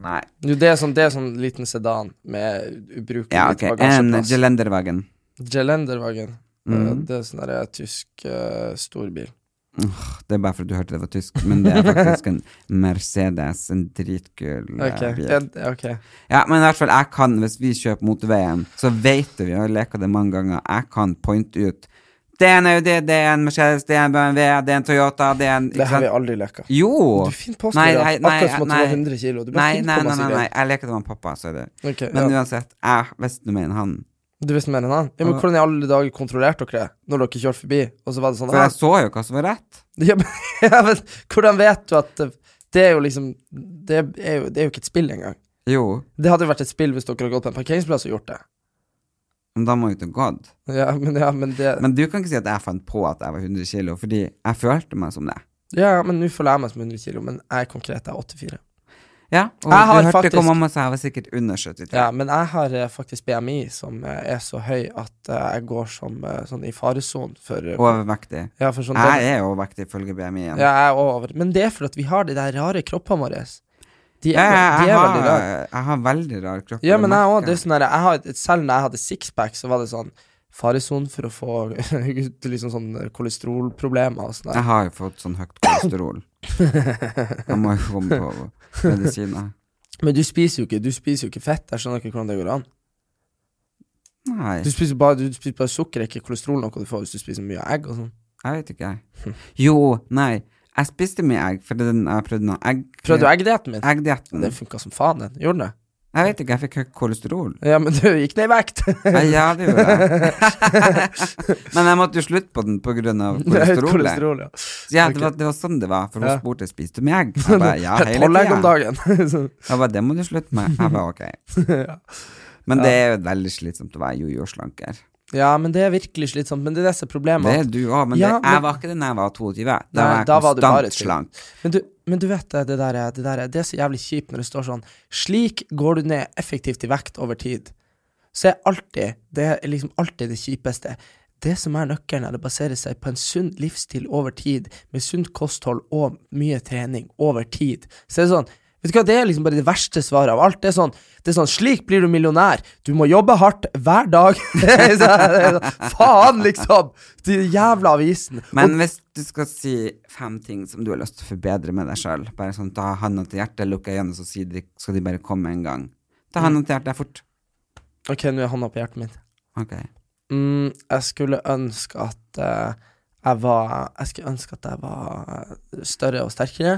Speaker 1: Nei.
Speaker 2: Jo, det er sånn, det er sånn liten sedan med ubrukelig
Speaker 1: Ja, ok. En
Speaker 2: bagasjeplass.
Speaker 1: gelenderwagen.
Speaker 2: Gelenderwagen. Eh,
Speaker 1: Mhm.
Speaker 2: Det er sånn der tysk eh, storbil.
Speaker 1: Det er bare fordi du hørte det var tysk, men det er faktisk en Mercedes, en dritkul eh,
Speaker 2: Ok,
Speaker 1: bil.
Speaker 2: ja, d- ok.
Speaker 1: Ja, men i hvert fall, jeg kan, hvis vi kjøper motorveien, så vet du, vi har leka det mange ganger, jeg kan pointe ut Det er en Audi, det er en Mercedes, det er en BMW, det er en Toyota, det er en
Speaker 2: Det
Speaker 1: ikke
Speaker 2: har vi
Speaker 1: sant?
Speaker 2: aldri leka.
Speaker 1: Jo!
Speaker 2: Du finner på
Speaker 1: Nei,
Speaker 2: det
Speaker 1: nei, nei,
Speaker 2: akkurat som at du
Speaker 1: nei.
Speaker 2: var 100 kilo. Du bare
Speaker 1: Nei, nei,
Speaker 2: finner på
Speaker 1: nei,
Speaker 2: masse
Speaker 1: nei, nei,
Speaker 2: greier.
Speaker 1: jeg leker det med han pappa, så er det
Speaker 2: Ok,
Speaker 1: Men
Speaker 2: ja.
Speaker 1: uansett, jeg visste noe mer enn han.
Speaker 2: Du visste mer enn han? Ja, men
Speaker 1: Ja.
Speaker 2: Hvordan i alle dager kontrollerte dere det når dere kjørte forbi? Og så var det sånn
Speaker 1: For
Speaker 2: ah,
Speaker 1: jeg så jo hva som var rett.
Speaker 2: ja, men, ja, men, Hvordan vet du at eh, Det er jo liksom Det er jo, det er jo ikke et spill engang.
Speaker 1: Jo,
Speaker 2: Det hadde jo vært et spill hvis dere hadde gått på en parkeringsplass og gjort det.
Speaker 1: men da må jo det gått.
Speaker 2: Ja, men, ja, men det
Speaker 1: Men du kan ikke si at jeg fant på at jeg var 100 kilo, fordi jeg følte meg som det.
Speaker 2: Ja, men nå føler jeg meg som 100 kilo, men jeg er konkret, jeg er 84.
Speaker 1: Ja, og
Speaker 2: Jeg har
Speaker 1: du hørte
Speaker 2: faktisk-
Speaker 1: hva mamma sa, jeg var sikkert under 73.
Speaker 2: Ja, men jeg har eh, faktisk BMI som eh, er så høy at eh, jeg går som eh, sånn i faresonen for eh,
Speaker 1: Overvektig.
Speaker 2: Ja, for sånn
Speaker 1: Jeg er overvektig ifølge BMI-en.
Speaker 2: Ja, jeg er også over. Men det er fordi at vi har de der rare kroppene våre. De er,
Speaker 1: Ja, jeg,
Speaker 2: de er
Speaker 1: jeg,
Speaker 2: veldig
Speaker 1: har,
Speaker 2: rare.
Speaker 1: jeg har veldig rar kropp.
Speaker 2: Ja, men jeg
Speaker 1: merker
Speaker 2: òg. Det er sånn der, jeg har, et- selv når jeg hadde sixpack, så var det sånn faresonen for å få liksom sånn kolesterolproblemer og sånn. der.
Speaker 1: Jeg har jo fått sånn høyt kolesterol. Jeg må jo komme på medisiner.
Speaker 2: Men du spiser jo ikke Du spiser jo ikke fett. Jeg skjønner ikke hvordan det går an.
Speaker 1: Nei,
Speaker 2: Du spiser bare, du spiser bare sukker, er ikke kolesterol noe du får hvis du spiser mye egg og sånn.
Speaker 1: jeg vet ikke, jeg. Jo, nei. Jeg spiste mye egg, for den jeg prøvde noe egg...
Speaker 2: Prøvde du eggdietten min?
Speaker 1: Eggdietten.
Speaker 2: Den funka som faen, den. Gjorde den det?
Speaker 1: Jeg vet ikke, jeg fikk høyt kolesterol.
Speaker 2: Ja, men du gikk ned i vekt.
Speaker 1: Ja, ja, det gjorde jeg. Men jeg måtte jo slutte på den på grunn av kolesterolet.
Speaker 2: Kolesterol, ja.
Speaker 1: Ja, det var, det var sånn det var, for hun
Speaker 2: Ja.
Speaker 1: spurte spiste du mye egg. Jeg bare, ja, hele
Speaker 2: Tolv egg om
Speaker 1: tida.
Speaker 2: dagen. Så-
Speaker 1: Jeg bare, det må du slutte med. Jeg bare, ok. Men det er jo veldig slitsomt å være jojo-slanker.
Speaker 2: ja, men det er virkelig slitsomt. Men det er det som er problemet.
Speaker 1: Det er du òg, men, det-
Speaker 2: Ja, men-
Speaker 1: jeg var ikke det da jeg var 22. Da
Speaker 2: Nei,
Speaker 1: var jeg
Speaker 2: da var du
Speaker 1: konstant
Speaker 2: bare tynn.
Speaker 1: slank.
Speaker 2: Men du, men du vet det, det der, er- det der er- Det er så jævlig kjipt når det står sånn Slik går du ned effektivt i vekt over tid. Så er alltid Det er liksom alltid det kjipeste. Det som er nøkkelen, er å basere seg på en sunn livsstil over tid, med sunt kosthold og mye trening over tid. Så det er sånn Vet du hva, Det er liksom bare det verste svaret av alt. Det er sånn, det er sånn Slik blir du millionær. Du må jobbe hardt hver dag. Det er sånn, Faen, liksom! De jævla avisen.
Speaker 1: Men hvis du skal si fem ting som du har lyst til å forbedre med deg sjøl, bare sånn ta handa til hjertet, lukke øynene, så sier de, skal de bare komme en gang. Ta
Speaker 2: Mm.
Speaker 1: handa til hjertet fort.
Speaker 2: Ok, nå er hånda på hjertet mitt.
Speaker 1: Ok.
Speaker 2: Mm, jeg skulle ønske at eh, jeg var Jeg skulle ønske at jeg var eh, større og sterkere.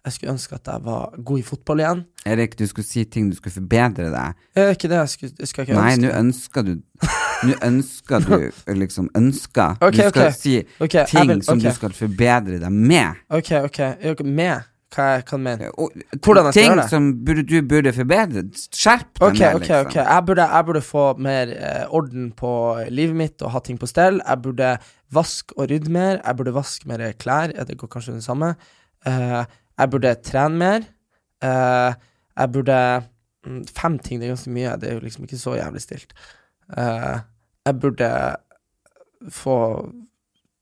Speaker 2: Jeg skulle ønske at jeg var god i fotball igjen.
Speaker 1: Erik, du skulle si ting du skulle forbedre deg.
Speaker 2: Er ikke det jeg skulle, jeg skulle ikke
Speaker 1: Nei, nå
Speaker 2: ønske?
Speaker 1: ønsker du Nå ønsker du liksom ønsker.
Speaker 2: Ok,
Speaker 1: du skal
Speaker 2: ok.
Speaker 1: si
Speaker 2: Ok, jeg
Speaker 1: ting
Speaker 2: vil-
Speaker 1: som
Speaker 2: ok.
Speaker 1: du skal forbedre deg med.
Speaker 2: Ok, ok. Er dere med? Hva jeg kan mene?
Speaker 1: Og,
Speaker 2: Hvordan jeg skal
Speaker 1: ting
Speaker 2: gjøre det?
Speaker 1: som burde, du burde forbedre. Skjerp deg liksom.
Speaker 2: Ok,
Speaker 1: mer,
Speaker 2: ok, ok. Jeg burde, jeg burde få mer eh, orden på livet mitt og ha ting på stell. Jeg burde vaske og rydde mer. Jeg burde vaske mer klær. Ja, det går kanskje det samme. Eh, jeg burde trene mer. Eh, jeg burde mm, Fem ting, det er ganske mye. Det er jo liksom ikke så jævlig stilt. Eh, jeg burde få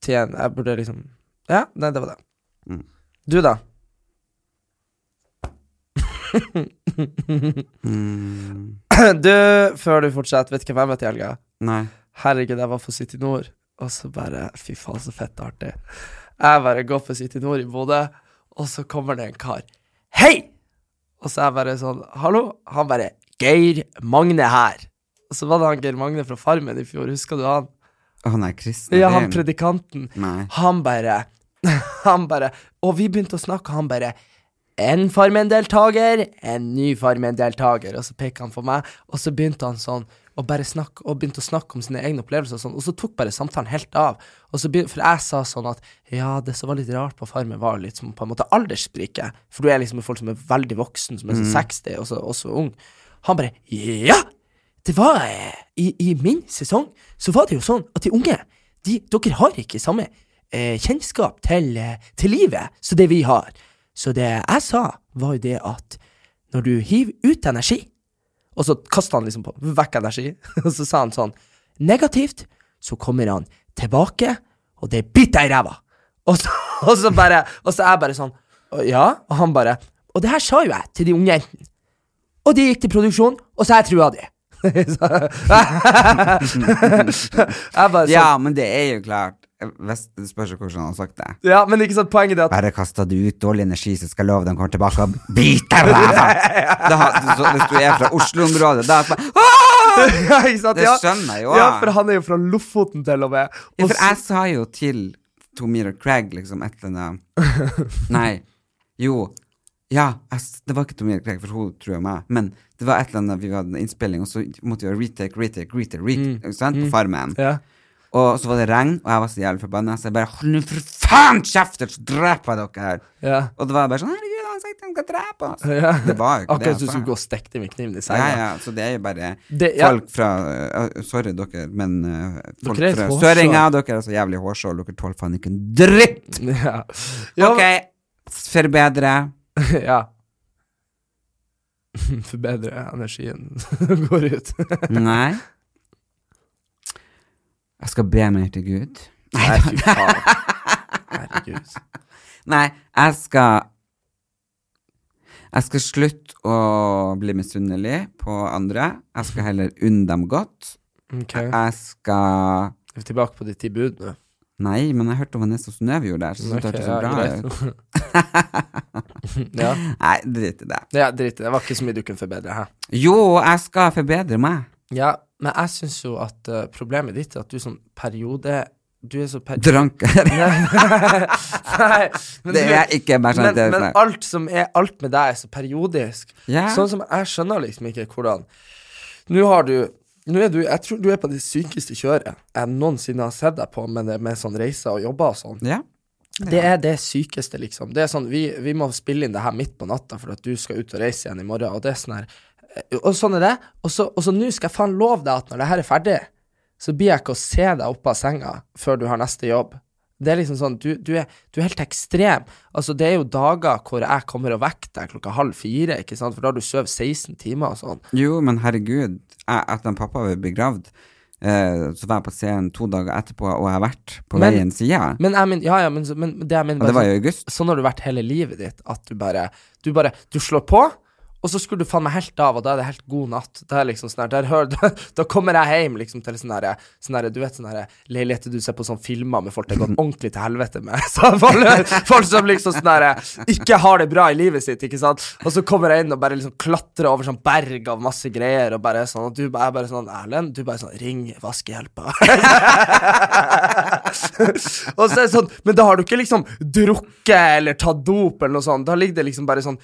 Speaker 2: tjene Jeg burde liksom Ja, nei, det var det.
Speaker 1: Mm.
Speaker 2: Du, da?
Speaker 1: Mm,
Speaker 2: Du, før du fortsetter, vet du hvem jeg møtte i helga?
Speaker 1: nei.
Speaker 2: Herregud, jeg var på City Nord, og så bare Fy faen, så fett artig. Jeg bare går på City Nord i Bodø, og så kommer det en kar Hei! Og så er jeg bare sånn Hallo? Han bare Geir Magne her. Og så var det han Geir Magne fra Farmen i fjor, husker du han?
Speaker 1: Å, han er kristen.
Speaker 2: Ja,
Speaker 1: er
Speaker 2: han
Speaker 1: det-
Speaker 2: predikanten.
Speaker 1: Nei.
Speaker 2: Han bare Han bare Og vi begynte å snakke, han bare En Farmen-deltaker, en ny Farmen-deltaker. Og så peker han på meg, og så begynte han sånn og bare snakke, og begynte å snakke om sine egne opplevelser, og sånn, og så tok bare samtalen helt av. Og så begyn- for jeg sa sånn at ja, det som var litt rart på Farmen, var litt som på en måte aldersspriket. For du er liksom med folk som er veldig voksen, som er
Speaker 1: Mm.
Speaker 2: sånn 60, og så, og så ung. Han bare ja! det var eh, i, I min sesong så var det jo sånn at de unge de, Dere har ikke samme eh, kjennskap til, eh, til livet som det vi har. Så det jeg sa, var jo det at når du hiver ut energi Og så kasta han liksom på vekk energi, og så sa han sånn Negativt, så kommer han tilbake, og det biter deg i ræva. Og så, og så bare Og så er jeg bare sånn «Å, Ja? Og han bare Og det her sa jo jeg til de unge jentene. Og de gikk til produksjon, og så jeg trua de. Så- jeg bare sånn, ja.
Speaker 1: Ja, men det er jo klart. Hvis, det spørs jo hvordan han har sagt det.
Speaker 2: men ikke sant, poenget er at
Speaker 1: Bare kasta du ut dårlig energi, så skal jeg love de kommer tilbake og biter deg i ræva! Da har- så Hvis du er fra Oslo-området, da er det bare-
Speaker 2: ja, ikke sant,
Speaker 1: Det
Speaker 2: ja.
Speaker 1: skjønner jeg jo,
Speaker 2: Ja,
Speaker 1: ja.
Speaker 2: for han er jo fra Lofoten, til og med.
Speaker 1: Ja,
Speaker 2: Og
Speaker 1: for
Speaker 2: så-
Speaker 1: jeg sa jo til Tomir og Craig liksom et eller annet Nei, jo. Ja, jeg, s- det var ikke Tomir og Craig, for hun tror jeg meg. Men det var et eller annet vi hadde en innspilling, og så måtte vi ha retake, retake, retake, retake ikke sant, på Farmen.
Speaker 2: Mm. ja.
Speaker 1: Og så var det regn, og jeg var så jævlig forbanna, så jeg bare Hold nå for faen kjeft, ellers dreper jeg dere her!
Speaker 2: Ja.
Speaker 1: Og det var bare sånn Herregud, han har sagt han skal drepe oss!
Speaker 2: Ja.
Speaker 1: Det var jo ikke
Speaker 2: Akkurat
Speaker 1: det.
Speaker 2: som du
Speaker 1: han
Speaker 2: skulle
Speaker 1: sa.
Speaker 2: gå og stikke det med kniven i
Speaker 1: Ja,
Speaker 2: senga.
Speaker 1: ja, så det er jo bare
Speaker 2: Det- ja.
Speaker 1: folk fra øh, Sorry, dere, men øh, folk
Speaker 2: Dere er et
Speaker 1: fra
Speaker 2: hårstrå.
Speaker 1: Søringa, dere er så jævlig hårsål, dere tåler faen ikke en dritt!
Speaker 2: Ja.
Speaker 1: Ok, forbedre.
Speaker 2: ja. Forbedre energien går ut.
Speaker 1: Nei. Jeg skal be mer til Gud.
Speaker 2: Nei, fy faen. Herregud.
Speaker 1: Nei, jeg skal Jeg skal slutte å bli misunnelig på andre. Jeg skal heller unne dem godt.
Speaker 2: Ok,
Speaker 1: Jeg skal
Speaker 2: vi er tilbake på de ti bud nå.
Speaker 1: Nei, men jeg hørte om Vanessa Synnøve gjorde det. her, Så
Speaker 2: Ok,
Speaker 1: syntes jeg det
Speaker 2: ja,
Speaker 1: hørtes så bra ut.
Speaker 2: greit. ja.
Speaker 1: Nei, drit i det.
Speaker 2: ja, drit i det. Det var ikke så mye du kunne forbedre her.
Speaker 1: Jo, jeg skal forbedre meg.
Speaker 2: Ja, men jeg syns jo at eh, problemet ditt er at du sånn periode Du er så per...
Speaker 1: Dranker.
Speaker 2: Nei, men
Speaker 1: Det
Speaker 2: du-
Speaker 1: er ikke bare sånn at
Speaker 2: men,
Speaker 1: det er
Speaker 2: men
Speaker 1: sånn-
Speaker 2: alt som er Alt med deg er så periodisk.
Speaker 1: Ja.
Speaker 2: Sånn som jeg skjønner liksom ikke hvordan Nå har du Nå er du Jeg tror du er på det sykeste kjøret jeg noensinne har sett deg på med, det- med sånn reiser og jobber og sånn.
Speaker 1: Ja.
Speaker 2: Det er det sykeste, liksom. Det er sånn, vi, vi må spille inn det her midt på natta for at du skal ut og reise igjen i morgen, og det er sånn her Og sånn er det. Og så og så nå skal jeg faen love deg at når det her er ferdig, så blir jeg ikke å se deg oppe av senga før du har neste jobb. Det er liksom sånn, du, du, er, du er helt ekstrem. Altså, det er jo dager hvor jeg kommer og vekker deg klokka halv fire, ikke sant, for da har du sovet 16 timer og sånn.
Speaker 1: Jo, men herregud, jeg, etter at pappa ble begravd, eh, så var jeg på scenen to dager etterpå, og jeg har vært på
Speaker 2: Men-
Speaker 1: veien siden.
Speaker 2: Men jeg mener, ja, ja, men, så- men det jeg mener
Speaker 1: Og det
Speaker 2: bare
Speaker 1: var
Speaker 2: sånn-
Speaker 1: i august.
Speaker 2: sånn har du vært hele livet ditt, at du bare Du bare Du slår på, og så skulle du faen meg helt av, og da er det helt god natt. Det er liksom sånn her der, hører du- Da kommer jeg hjem liksom til sånn herre sånn herre- Du vet sånn herre leiligheter du ser på sånne filmer med folk det har gått ordentlig til helvete med. Så folk, folk som liksom sånn herre ikke har det bra i livet sitt, ikke sant. Og så kommer jeg inn og bare liksom klatrer over sånn berg av masse greier, og bare sånn Og du bare, er bare sånn Erlend, du bare sånn Ring vaskehjelpa. Og så er det sånn, men da har du ikke liksom drukket eller tatt dop eller noe sånt. Da ligger det liksom bare sånn 400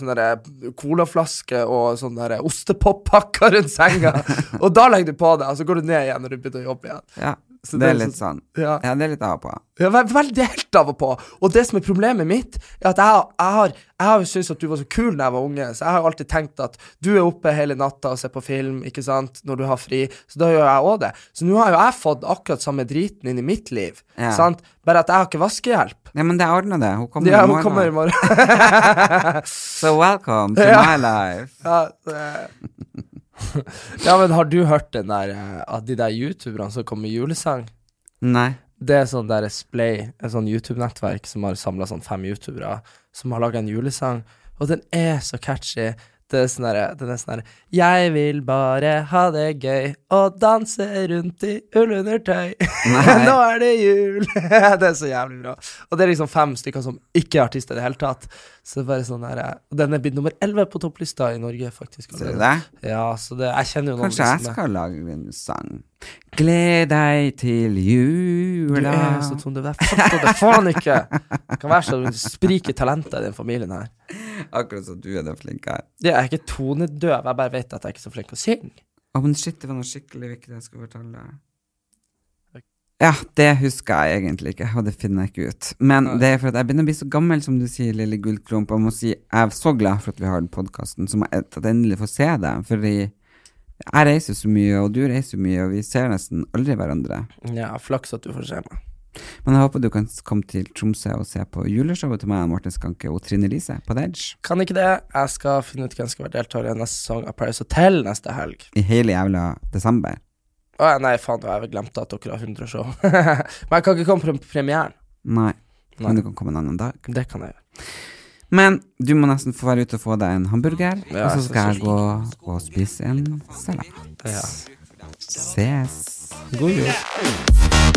Speaker 2: sånne der eh, colaflasker og sånne der eh, ostepoppakker rundt senga. Og da legger du på deg, og så går du ned igjen når du begynner å jobbe igjen.
Speaker 1: Ja,
Speaker 2: Så
Speaker 1: det,
Speaker 2: det er
Speaker 1: er litt
Speaker 2: sånn-
Speaker 1: sånn.
Speaker 2: ja.
Speaker 1: Ja. det er litt av og på.
Speaker 2: Ja, vel, vel, det er helt av og på. Og det som er problemet mitt, er at jeg, har- jeg har Jeg har jo syntes at du var så kul da jeg var unge, så jeg har jo alltid tenkt at du er oppe hele natta og ser på film, ikke sant, når du har fri, så da gjør jeg òg det. Så nå har jo jeg fått akkurat samme driten inn i mitt liv,
Speaker 1: Ja.
Speaker 2: sant, bare at jeg har ikke vaskehjelp.
Speaker 1: Nei, men det ordner det. Hun kommer i
Speaker 2: Ja, hun
Speaker 1: morgen.
Speaker 2: kommer i morgen.
Speaker 1: So welcome to
Speaker 2: Ja.
Speaker 1: my life.
Speaker 2: ja, det- ja, men har du hørt den der eh, av de der youtuberne som kommer med julesang?
Speaker 1: Nei.
Speaker 2: Det er sånn der Splay, et sånn YouTube-nettverk som har samla sånn fem youtubere, som har laga en julesang, og den er så catchy. Det er sånn derre- Den er sånn herre Jeg vil bare ha det gøy og danse rundt i ullundertøy.
Speaker 1: Nei.
Speaker 2: Nå er det jul! det er så jævlig bra. Og det er liksom fem stykker som ikke er artister i det hele tatt. Så det er bare sånn herre Den er blitt nummer elleve på topplista i Norge, faktisk.
Speaker 1: Ser du det?
Speaker 2: Ja, så det Jeg kjenner jo noen
Speaker 1: Kanskje jeg
Speaker 2: som er-
Speaker 1: skal lage en sang. Gled deg til jula
Speaker 2: Du er så tom, du er fatta det faen ikke! Det kan være så du spriker talentet i den familien her.
Speaker 1: Akkurat som du er den flinke her.
Speaker 2: Det er ikke tonedøv, jeg bare vet at jeg er ikke så flink til å synge.
Speaker 1: Å, men shit, det var noe skikkelig viktig jeg skulle fortelle. Ja, det husker jeg egentlig ikke, og det finner jeg ikke ut. Men det er for at jeg begynner å bli så gammel, som du sier, lille gullklump, og må si jeg er så glad for at vi har den podkasten, så må jeg at jeg endelig får se det. Fordi jeg reiser så mye, og du reiser mye, og vi ser nesten aldri hverandre.
Speaker 2: Ja, flaks at du får se meg.
Speaker 1: Men jeg håper du kan komme til Tromsø og se på juleshowet til meg og Martin Skanke og Trine Lise på Dedge.
Speaker 2: Kan ikke det. Jeg skal finne ut hvem som skal være deltaker i neste sesong av Paris Hotel neste helg.
Speaker 1: I hele jævla desember.
Speaker 2: Å nei, faen, da har jeg vel glemt at dere har 100 show. Men jeg kan ikke komme på pre- premieren.
Speaker 1: Nei.
Speaker 2: Nei.
Speaker 1: Men du kan komme en annen dag.
Speaker 2: Det kan jeg gjøre.
Speaker 1: Men du må nesten få være ute og få deg en hamburger,
Speaker 2: Ja,
Speaker 1: og så
Speaker 2: jeg
Speaker 1: skal
Speaker 2: synes
Speaker 1: jeg gå og spise en salat.
Speaker 2: Ja.
Speaker 1: Ses.
Speaker 2: God jul.